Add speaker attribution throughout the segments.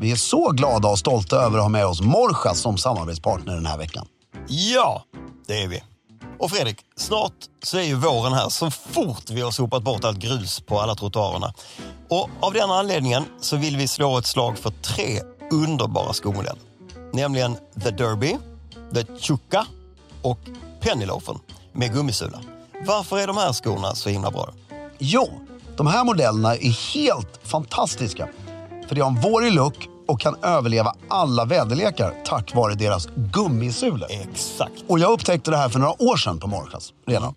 Speaker 1: Vi är så glada och stolta över att ha med oss Morja som samarbetspartner den här veckan.
Speaker 2: Ja, det är vi. Och Fredrik, snart så är ju våren här så fort vi har sopat bort allt grus på alla trottoarerna. Och av den anledningen så vill vi slå ett slag för tre underbara skomodeller. Nämligen The Derby, The Chukka och Pennyloafen med gummisula. Varför är de här skorna så himla bra?
Speaker 1: Jo, de här modellerna är helt fantastiska. För de har en vårig look och kan överleva alla väderlekar tack vare deras gummisulor.
Speaker 2: Exakt.
Speaker 1: Och jag upptäckte det här för några år sedan på Morjas redan.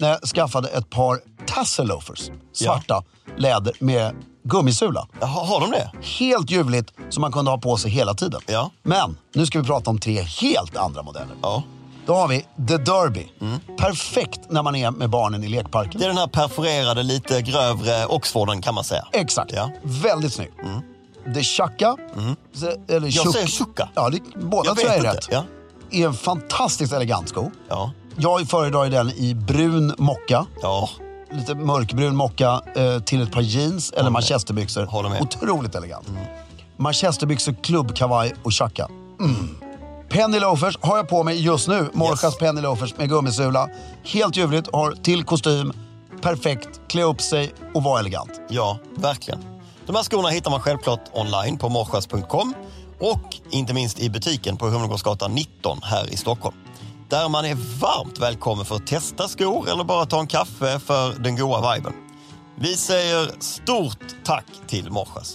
Speaker 1: När jag skaffade ett par tassel loafers, svarta läder med gummisula.
Speaker 2: Ha, har de det?
Speaker 1: Helt ljuvligt som man kunde ha på sig hela tiden.
Speaker 2: Ja.
Speaker 1: Men nu ska vi prata om tre helt andra modeller.
Speaker 2: Ja.
Speaker 1: Då har vi The Derby. Perfekt när man är med barnen i lekparken.
Speaker 2: Det är den här perforerade, lite grövre Oxforden kan man säga.
Speaker 1: Exakt.
Speaker 2: Ja. Mm.
Speaker 1: Väldigt snygg. The Chaka. se- Eller
Speaker 2: Jag
Speaker 1: Chuk-
Speaker 2: säger Chukka.
Speaker 1: Ja, det, båda
Speaker 2: Jag
Speaker 1: tror jag är
Speaker 2: vet inte.
Speaker 1: rätt.
Speaker 2: Ja.
Speaker 1: Är en fantastiskt elegant sko.
Speaker 2: Ja.
Speaker 1: Jag föredrar ju den i brun mocka.
Speaker 2: Ja.
Speaker 1: Lite mörkbrun mocka eh, till ett par jeans eller manchesterbyxor.
Speaker 2: Håller med.
Speaker 1: Otroligt elegant. Manchesterbyxor, klubbkavaj och chacka. Mm. Penny loafers har jag på mig just nu. Morjas
Speaker 2: Yes.
Speaker 1: penny loafers med gummisula. Helt ljuvligt, har till kostym. Perfekt, klä upp sig och vara elegant.
Speaker 2: Ja, verkligen. De här skorna hittar man självklart online på morschas.com och inte minst i butiken på Humlegårdsgatan 19 här i Stockholm. Där man är varmt välkommen för att testa skor eller bara ta en kaffe för den goa viben. Vi säger stort tack till Morschas.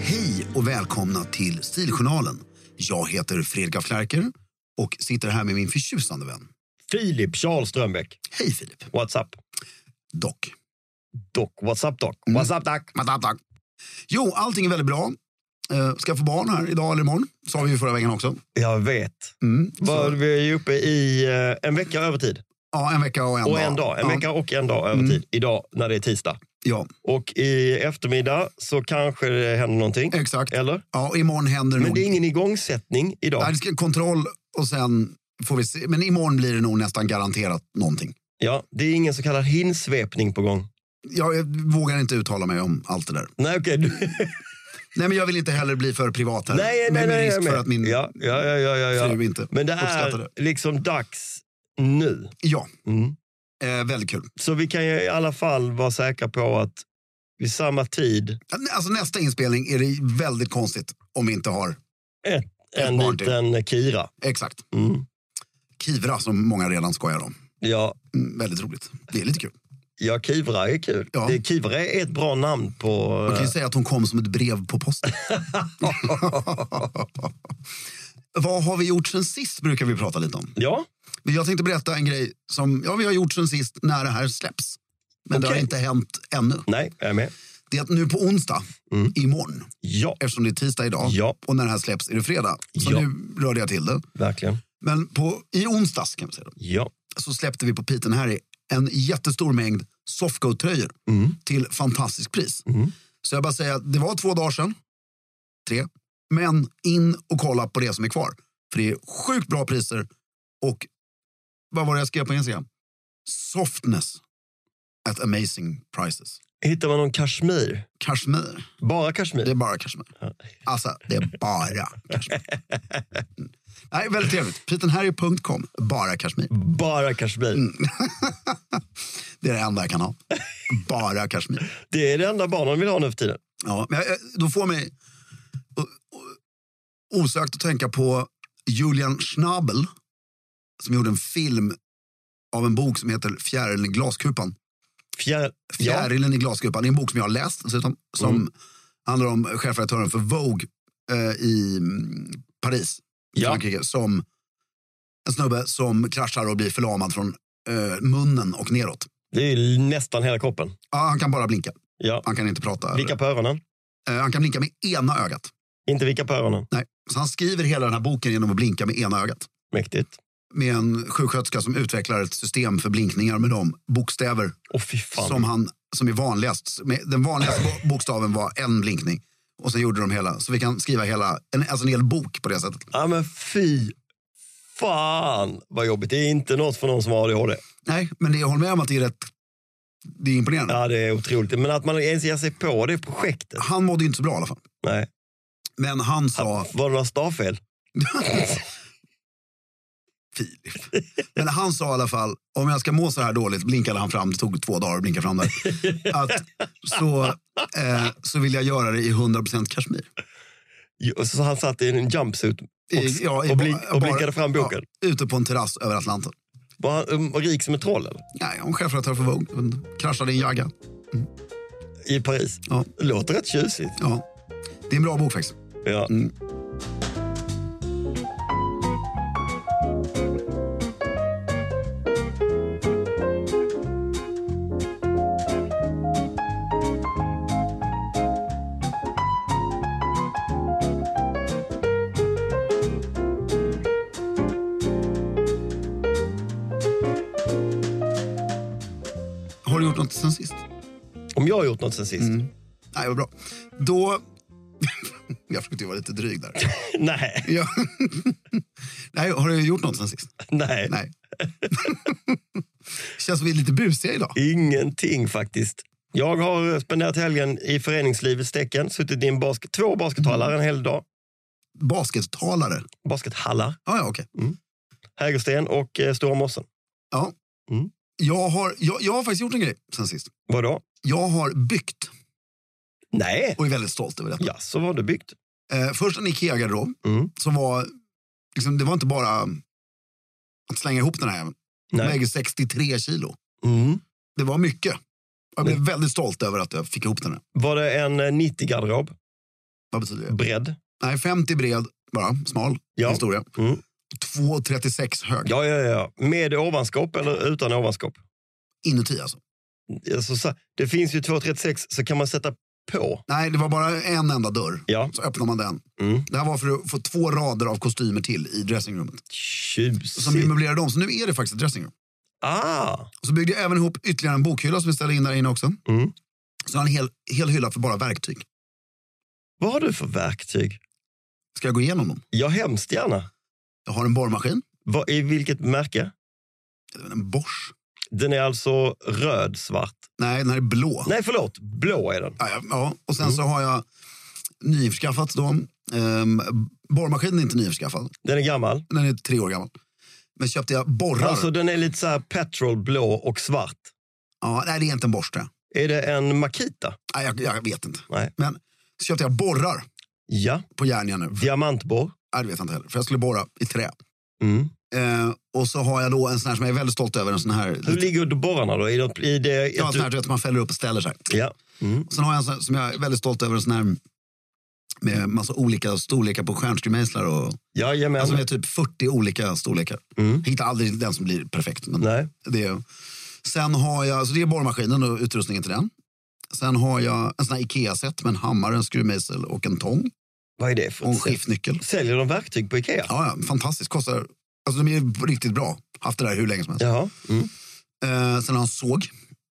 Speaker 1: Hej och välkomna till Stiljournalen. Jag heter Fredrik af Klerker och sitter här med min förtjusande vän.
Speaker 2: Filip Charles Strömbäck,
Speaker 1: Hej Filip.
Speaker 2: what's up?
Speaker 1: Dock.
Speaker 2: Doc, what's up doc?
Speaker 1: Mm.
Speaker 2: What's up doc?
Speaker 1: Matack, tack. Jo, allting är väldigt bra. Eh, Ska få barn här idag eller imorgon. Sa vi ju förra veckan också.
Speaker 2: Jag vet.
Speaker 1: Mm.
Speaker 2: Var,
Speaker 1: Så,
Speaker 2: vi är ju uppe i eh, en vecka övertid.
Speaker 1: ja, en vecka och en
Speaker 2: Och
Speaker 1: dag.
Speaker 2: en dag. En
Speaker 1: ja, Mm.
Speaker 2: vecka och en dag övertid. Idag när det är tisdag.
Speaker 1: Ja,
Speaker 2: Och i eftermiddag så kanske det händer någonting.
Speaker 1: exakt.
Speaker 2: Eller?
Speaker 1: Ja, och imorgon händer
Speaker 2: Men
Speaker 1: nog...
Speaker 2: det är ingen igångsättning
Speaker 1: Nej,
Speaker 2: idag.
Speaker 1: det ska kontroll och sen får vi se. Men imorgon blir det nog nästan garanterat någonting.
Speaker 2: Ja, det är ingen så kallad hinsvepning på gång.
Speaker 1: Jag eh, vågar inte uttala mig om allt det där.
Speaker 2: Nej, okej. du-
Speaker 1: Nej, men jag vill inte heller bli för privat här.
Speaker 2: nej, nej,
Speaker 1: med med
Speaker 2: nej.
Speaker 1: risk
Speaker 2: jag är
Speaker 1: för
Speaker 2: med.
Speaker 1: att min
Speaker 2: ja, ja, ja, ja, ja, ja.
Speaker 1: fru inte
Speaker 2: Men det
Speaker 1: uppskattar
Speaker 2: är liksom dags nu.
Speaker 1: Ja,
Speaker 2: Mm.
Speaker 1: eh, väldigt kul.
Speaker 2: Så vi kan ju i alla fall vara säkra på att vid samma tid
Speaker 1: Alltså nästa inspelning är det väldigt konstigt om vi inte har...
Speaker 2: ett, en
Speaker 1: barn
Speaker 2: liten Kira.
Speaker 1: Exakt.
Speaker 2: Mm.
Speaker 1: Kivra som många redan skojar om.
Speaker 2: Ja,
Speaker 1: Mm, väldigt roligt. Det är lite kul.
Speaker 2: ja, Kivra är kul.
Speaker 1: Ja.
Speaker 2: Det, Kivra är ett bra namn på...
Speaker 1: Man kan ju säga att hon kom som ett brev på posten. Vad har vi gjort sen sist brukar vi prata lite om.
Speaker 2: Ja,
Speaker 1: Men Jag tänkte berätta en grej som ja, vi har gjort sen sist när det här släpps. Men det har
Speaker 2: Okej.
Speaker 1: inte hänt ännu.
Speaker 2: nej, jag är med.
Speaker 1: Det är att nu på onsdag, imorgon,
Speaker 2: Ja,
Speaker 1: eftersom det är tisdag idag
Speaker 2: Mm. Ja.
Speaker 1: och när det här släpps är det fredag. Så
Speaker 2: Ja.
Speaker 1: nu rörde jag till det.
Speaker 2: verkligen.
Speaker 1: Men på, i onsdags kan man säga,
Speaker 2: Ja.
Speaker 1: så släppte vi på Piten Harry en jättestor mängd softgo-tröjor
Speaker 2: Mm.
Speaker 1: till fantastiskt pris. Så jag bara säger att det var två dagar sedan, tre, men in och kolla på det som är kvar. För det är sjukt bra priser och vad var det jag skrev på Instagram? Softness at amazing prices.
Speaker 2: Hittar man någon kashmir?
Speaker 1: Kashmir,
Speaker 2: Bara kashmir?
Speaker 1: det är bara kashmir. Alltså, det är bara kashmir. Mm. Nej, väldigt trevligt. Pitenharry.com, bara kashmir.
Speaker 2: Bara kashmir.
Speaker 1: Mm. Det är det enda jag kan ha. Bara kashmir.
Speaker 2: Det är det enda barnen vill ha nu för tiden.
Speaker 1: Ja, men jag, jag- då får mig o- o- osökt att tänka på Julian Schnabel som gjorde en film av en bok som heter Fjärilen i glaskupan.
Speaker 2: Fjär... Ja. Mm.
Speaker 1: Fjärilen i glaskupan det är en bok som jag har läst dessutom, som handlar om chefredaktören för Vogue eh, i mm, Paris,
Speaker 2: Ja.
Speaker 1: Frankrike, som en snubbe som kraschar och blir förlamad från eh, munnen och neråt.
Speaker 2: Det är nästan hela kroppen.
Speaker 1: Ja, han kan bara blinka,
Speaker 2: Ja.
Speaker 1: han kan inte prata.
Speaker 2: Vicka på öronen.
Speaker 1: Eh, han kan blinka med ena ögat.
Speaker 2: Inte vicka på öronen.
Speaker 1: Nej. Så han skriver hela den här boken genom att blinka med ena ögat.
Speaker 2: Mäktigt.
Speaker 1: Med en sjuksköterska som utvecklar ett system för blinkningar med de bokstäver
Speaker 2: Åh fy fan.
Speaker 1: som, han, som är vanligast. Med- Den vanligaste bo- bokstaven var en blinkning. Och sen gjorde de hela, så vi kan skriva hela, en, alltså en hel bok på det sättet.
Speaker 2: Ja men fy fan vad jobbigt. Det är inte något för någon som har ADHD.
Speaker 1: Nej, men det, jag håller med om att det är rätt, det är imponerande.
Speaker 2: Ja det är otroligt. Men att man ens ger sig på det projektet.
Speaker 1: Han mådde ju inte så bra i alla fall.
Speaker 2: Nej.
Speaker 1: Men han sa,
Speaker 2: Var det några stavfel?
Speaker 1: Filip. Men han sa i alla fall, om jag ska må så här dåligt, blinkade han fram, det tog två dagar att blinka fram där. Att, så, eh, så vill jag göra det i 100% kashmir.
Speaker 2: Jo, Så han satt i en jumpsuit och,
Speaker 1: I- ja, i
Speaker 2: och,
Speaker 1: ba-
Speaker 2: blink, och
Speaker 1: bara-
Speaker 2: blinkade fram boken.
Speaker 1: Ja, ute på en terrass över Atlanten.
Speaker 2: Var han um, var rik som ett troll eller?
Speaker 1: Nej, hon chefredaktör för Vogue. Hon kraschade i en jagga.
Speaker 2: I Paris.
Speaker 1: Ja.
Speaker 2: Det låter rätt tjusigt.
Speaker 1: Ja. Det är en bra bok faktiskt.
Speaker 2: Ja.
Speaker 1: Har du gjort något sen sist?
Speaker 2: Om jag har gjort något sen sist?
Speaker 1: Nej, vad bra. Då... jag försökte ju vara lite dryg där.
Speaker 2: Nej.
Speaker 1: Ja. Nej, har du gjort något sen sist?
Speaker 2: Nej.
Speaker 1: Nej. Känns som vi är lite busiga idag.
Speaker 2: Ingenting faktiskt. Jag har spenderat helgen i föreningslivets tecken. Suttit i en basket, två baskethallar en hel dag.
Speaker 1: Baskettalare.
Speaker 2: Baskethallar,
Speaker 1: Ja, ja, okej.
Speaker 2: Mm. Hägersten och eh, Stora Mossen.
Speaker 1: Ja.
Speaker 2: Mm.
Speaker 1: Jag, har, jag, jag har faktiskt gjort en grej sen sist.
Speaker 2: Vadå?
Speaker 1: Jag har byggt
Speaker 2: Nej.
Speaker 1: och är väldigt stolt över detta.
Speaker 2: Ja, så var det byggt.
Speaker 1: Eh, först en Ikea-garderob
Speaker 2: Mm.
Speaker 1: som var... Liksom, det var inte bara att slänga ihop den här jäveln. Den
Speaker 2: Nej.
Speaker 1: väger 63 kilo.
Speaker 2: Mm.
Speaker 1: Det var mycket. Jag blev väldigt stolt över att jag fick ihop den här.
Speaker 2: Var det en eh, 90-garderob?
Speaker 1: Vad betyder det?
Speaker 2: Bredd?
Speaker 1: Nej, 50 bred, bara smal
Speaker 2: Ja.
Speaker 1: historia.
Speaker 2: Mm.
Speaker 1: 2,36 hög.
Speaker 2: Ja, ja, ja. Med ovanskåp eller utan ovanskåp?
Speaker 1: Inuti alltså.
Speaker 2: Alltså, så, det finns ju 236 så kan man sätta på.
Speaker 1: Nej, det var bara en enda dörr.
Speaker 2: Ja.
Speaker 1: Så öppnar man den.
Speaker 2: Mm.
Speaker 1: Det här var för att få två rader av kostymer till i dressingrummet. Som vi
Speaker 2: Tjusigt.
Speaker 1: möblerade om, så nu är det faktiskt ett dressingrum.
Speaker 2: Ah!
Speaker 1: Och så byggde jag även ihop ytterligare en bokhylla som vi ställde in där inne också.
Speaker 2: Mm.
Speaker 1: Så jag har en hel, hel hylla för bara verktyg.
Speaker 2: Vad har du för verktyg?
Speaker 1: Ska jag gå igenom dem?
Speaker 2: Ja, hemskt gärna.
Speaker 1: Jag har en borrmaskin,
Speaker 2: Vad, I vilket märke?
Speaker 1: en Bosch.
Speaker 2: Den är alltså röd-svart.
Speaker 1: Nej, den här är blå.
Speaker 2: Nej, Mm. förlåt. Blå är den.
Speaker 1: Ja, ja, ja. Och sen så har jag nyinförskaffat då. Ehm, borrmaskinen är inte nyinförskaffad,
Speaker 2: Den är gammal.
Speaker 1: den är tre år gammal. Men köpte jag borrar.
Speaker 2: Alltså, den är lite så här petrolblå och svart.
Speaker 1: Ja, nej, det är inte en borste.
Speaker 2: Är det en Makita?
Speaker 1: Nej, jag, jag vet inte.
Speaker 2: Nej.
Speaker 1: Men så köpte jag borrar
Speaker 2: Ja.
Speaker 1: på Järnia nu.
Speaker 2: Diamantborr?
Speaker 1: Nej, det vet jag inte heller. För jag skulle borra i trä.
Speaker 2: Mm.
Speaker 1: Eh, och så har jag då en sån här som jag är väldigt stolt över. En sån här,
Speaker 2: Hur ligger du borrarna då? I det, i det,
Speaker 1: ja, en sån här du
Speaker 2: du,
Speaker 1: vet, man fäller upp och ställer sig.
Speaker 2: ja. Mm.
Speaker 1: Sen har jag en sån, som jag är väldigt stolt över. En sån här med massa olika storlekar på stjärnskruvmejslar. Och,
Speaker 2: Jajamän.
Speaker 1: alltså med typ 40 olika storlekar.
Speaker 2: Mm.
Speaker 1: Jag hittar aldrig den som blir perfekt. Men
Speaker 2: Nej.
Speaker 1: det är, sen har jag, så det är borrmaskinen och utrustningen till den. Sen har jag en sån här Ikea-set med en hammare, en skruvmejsel och en tång.
Speaker 2: Vad är det för
Speaker 1: Och en
Speaker 2: ett sätt?
Speaker 1: skiftnyckel.
Speaker 2: Säljer de verktyg på Ikea?
Speaker 1: Ja, ja fantastiskt. Kostar, alltså de är ju riktigt bra. Haft det där hur länge som helst.
Speaker 2: Jaha. Mm.
Speaker 1: Eh, sen har han såg.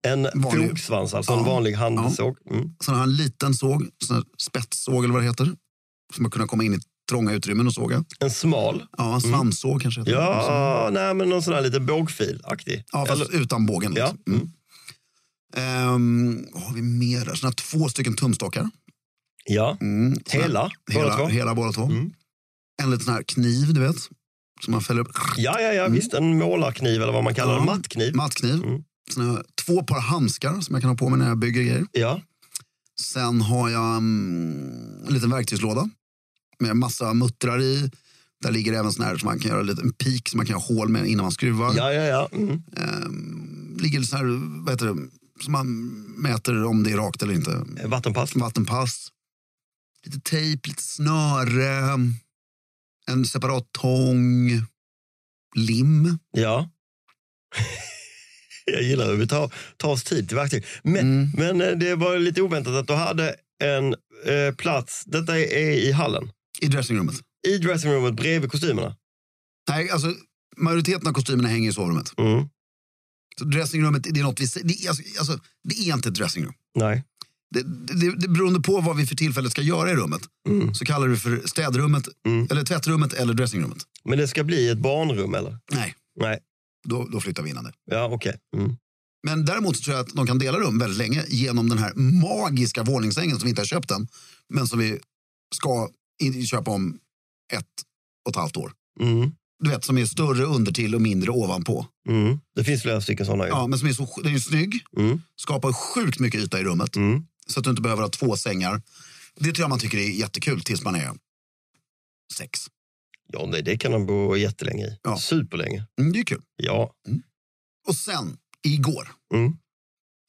Speaker 2: En
Speaker 1: Vanlig.
Speaker 2: fogsvans, alltså
Speaker 1: Ja.
Speaker 2: en vanlig handsåg. Mm.
Speaker 1: Sen har han en liten såg, sån här spetssåg eller vad det heter. Som har kunnat komma in i trånga utrymmen och såga.
Speaker 2: En smal.
Speaker 1: Ja, en svanssåg kanske heter det.
Speaker 2: Mm. Ja, nej, men någon sån här liten bågfil-aktig.
Speaker 1: Ja, fast
Speaker 2: Eller-
Speaker 1: utan bågen.
Speaker 2: ja.
Speaker 1: Liksom.
Speaker 2: Mm.
Speaker 1: Ehm, vad har vi mer där? Sen har jag två stycken tumstockar.
Speaker 2: ja.
Speaker 1: Mm. Sen har-
Speaker 2: Hela, båda två.
Speaker 1: Hela, hela båda två.
Speaker 2: Mm.
Speaker 1: En liten sån här kniv, du vet. Som man fäller upp.
Speaker 2: Ja, ja, ja visst. En målarkniv eller vad man kallar det.
Speaker 1: Mm. Ja.
Speaker 2: Mattkniv.
Speaker 1: Mattkniv.
Speaker 2: Mm.
Speaker 1: Sen har jag två par handskar som jag kan ha på mig när jag bygger grejer.
Speaker 2: Ja.
Speaker 1: Sen har jag mm, en liten verktygslåda med massa muttrar i. Där ligger även sån här som man kan göra lite, en pik som man kan göra hål med innan man skruvar. Ehm,
Speaker 2: Ja, ja, ja. Mm.
Speaker 1: Ligger sån här, vad heter det, som man mäter om det är rakt eller inte.
Speaker 2: Vattenpass.
Speaker 1: Eh, Vattenpass. Lite tejp, lite snöre. En separat tång. Lim.
Speaker 2: Ja. Jag gillar hur vi tar, tar oss tid till verktyg. Men,
Speaker 1: Mm.
Speaker 2: men eh, det var lite oväntat att du hade en eh, plats, detta är är i hallen,
Speaker 1: I dressingrummet.
Speaker 2: i dressingrummet bredvid kostymerna.
Speaker 1: Nej, alltså majoriteten av kostymerna hänger i sovrummet.
Speaker 2: Mm.
Speaker 1: Så dressingrummet, det är något vi... se- Det är, alltså, alltså, det är inte ett dressingrum.
Speaker 2: Nej.
Speaker 1: Det, det, det, det beroende på vad vi för tillfället ska göra i rummet så kallar vi det för städrummet, eller tvättrummet eller dressingrummet.
Speaker 2: Men det ska bli ett barnrum eller?
Speaker 1: Nej,
Speaker 2: Nej.
Speaker 1: då, då flyttar vi innan det.
Speaker 2: Ja, okej. Mm.
Speaker 1: Men däremot så tror jag att de kan dela rum väldigt länge genom den här magiska våningssängen som vi inte har köpt än, men som vi ska i- köpa om ett och ett halvt år.
Speaker 2: Mm.
Speaker 1: Du vet, som är större undertill och mindre ovanpå.
Speaker 2: Mm. Det finns flera stycken sådana.
Speaker 1: Ja, men som är så sj- den är snygg,
Speaker 2: Mm.
Speaker 1: skapar sjukt mycket yta i rummet
Speaker 2: Mm.
Speaker 1: så att du inte behöver ha två sängar. Det tror jag man tycker är jättekul tills man är sex.
Speaker 2: Ja, nej, det kan de bo jättelänge i.
Speaker 1: Ja.
Speaker 2: Superlänge.
Speaker 1: Mm, det är kul.
Speaker 2: Ja.
Speaker 1: Och sen, igår,
Speaker 2: Mm.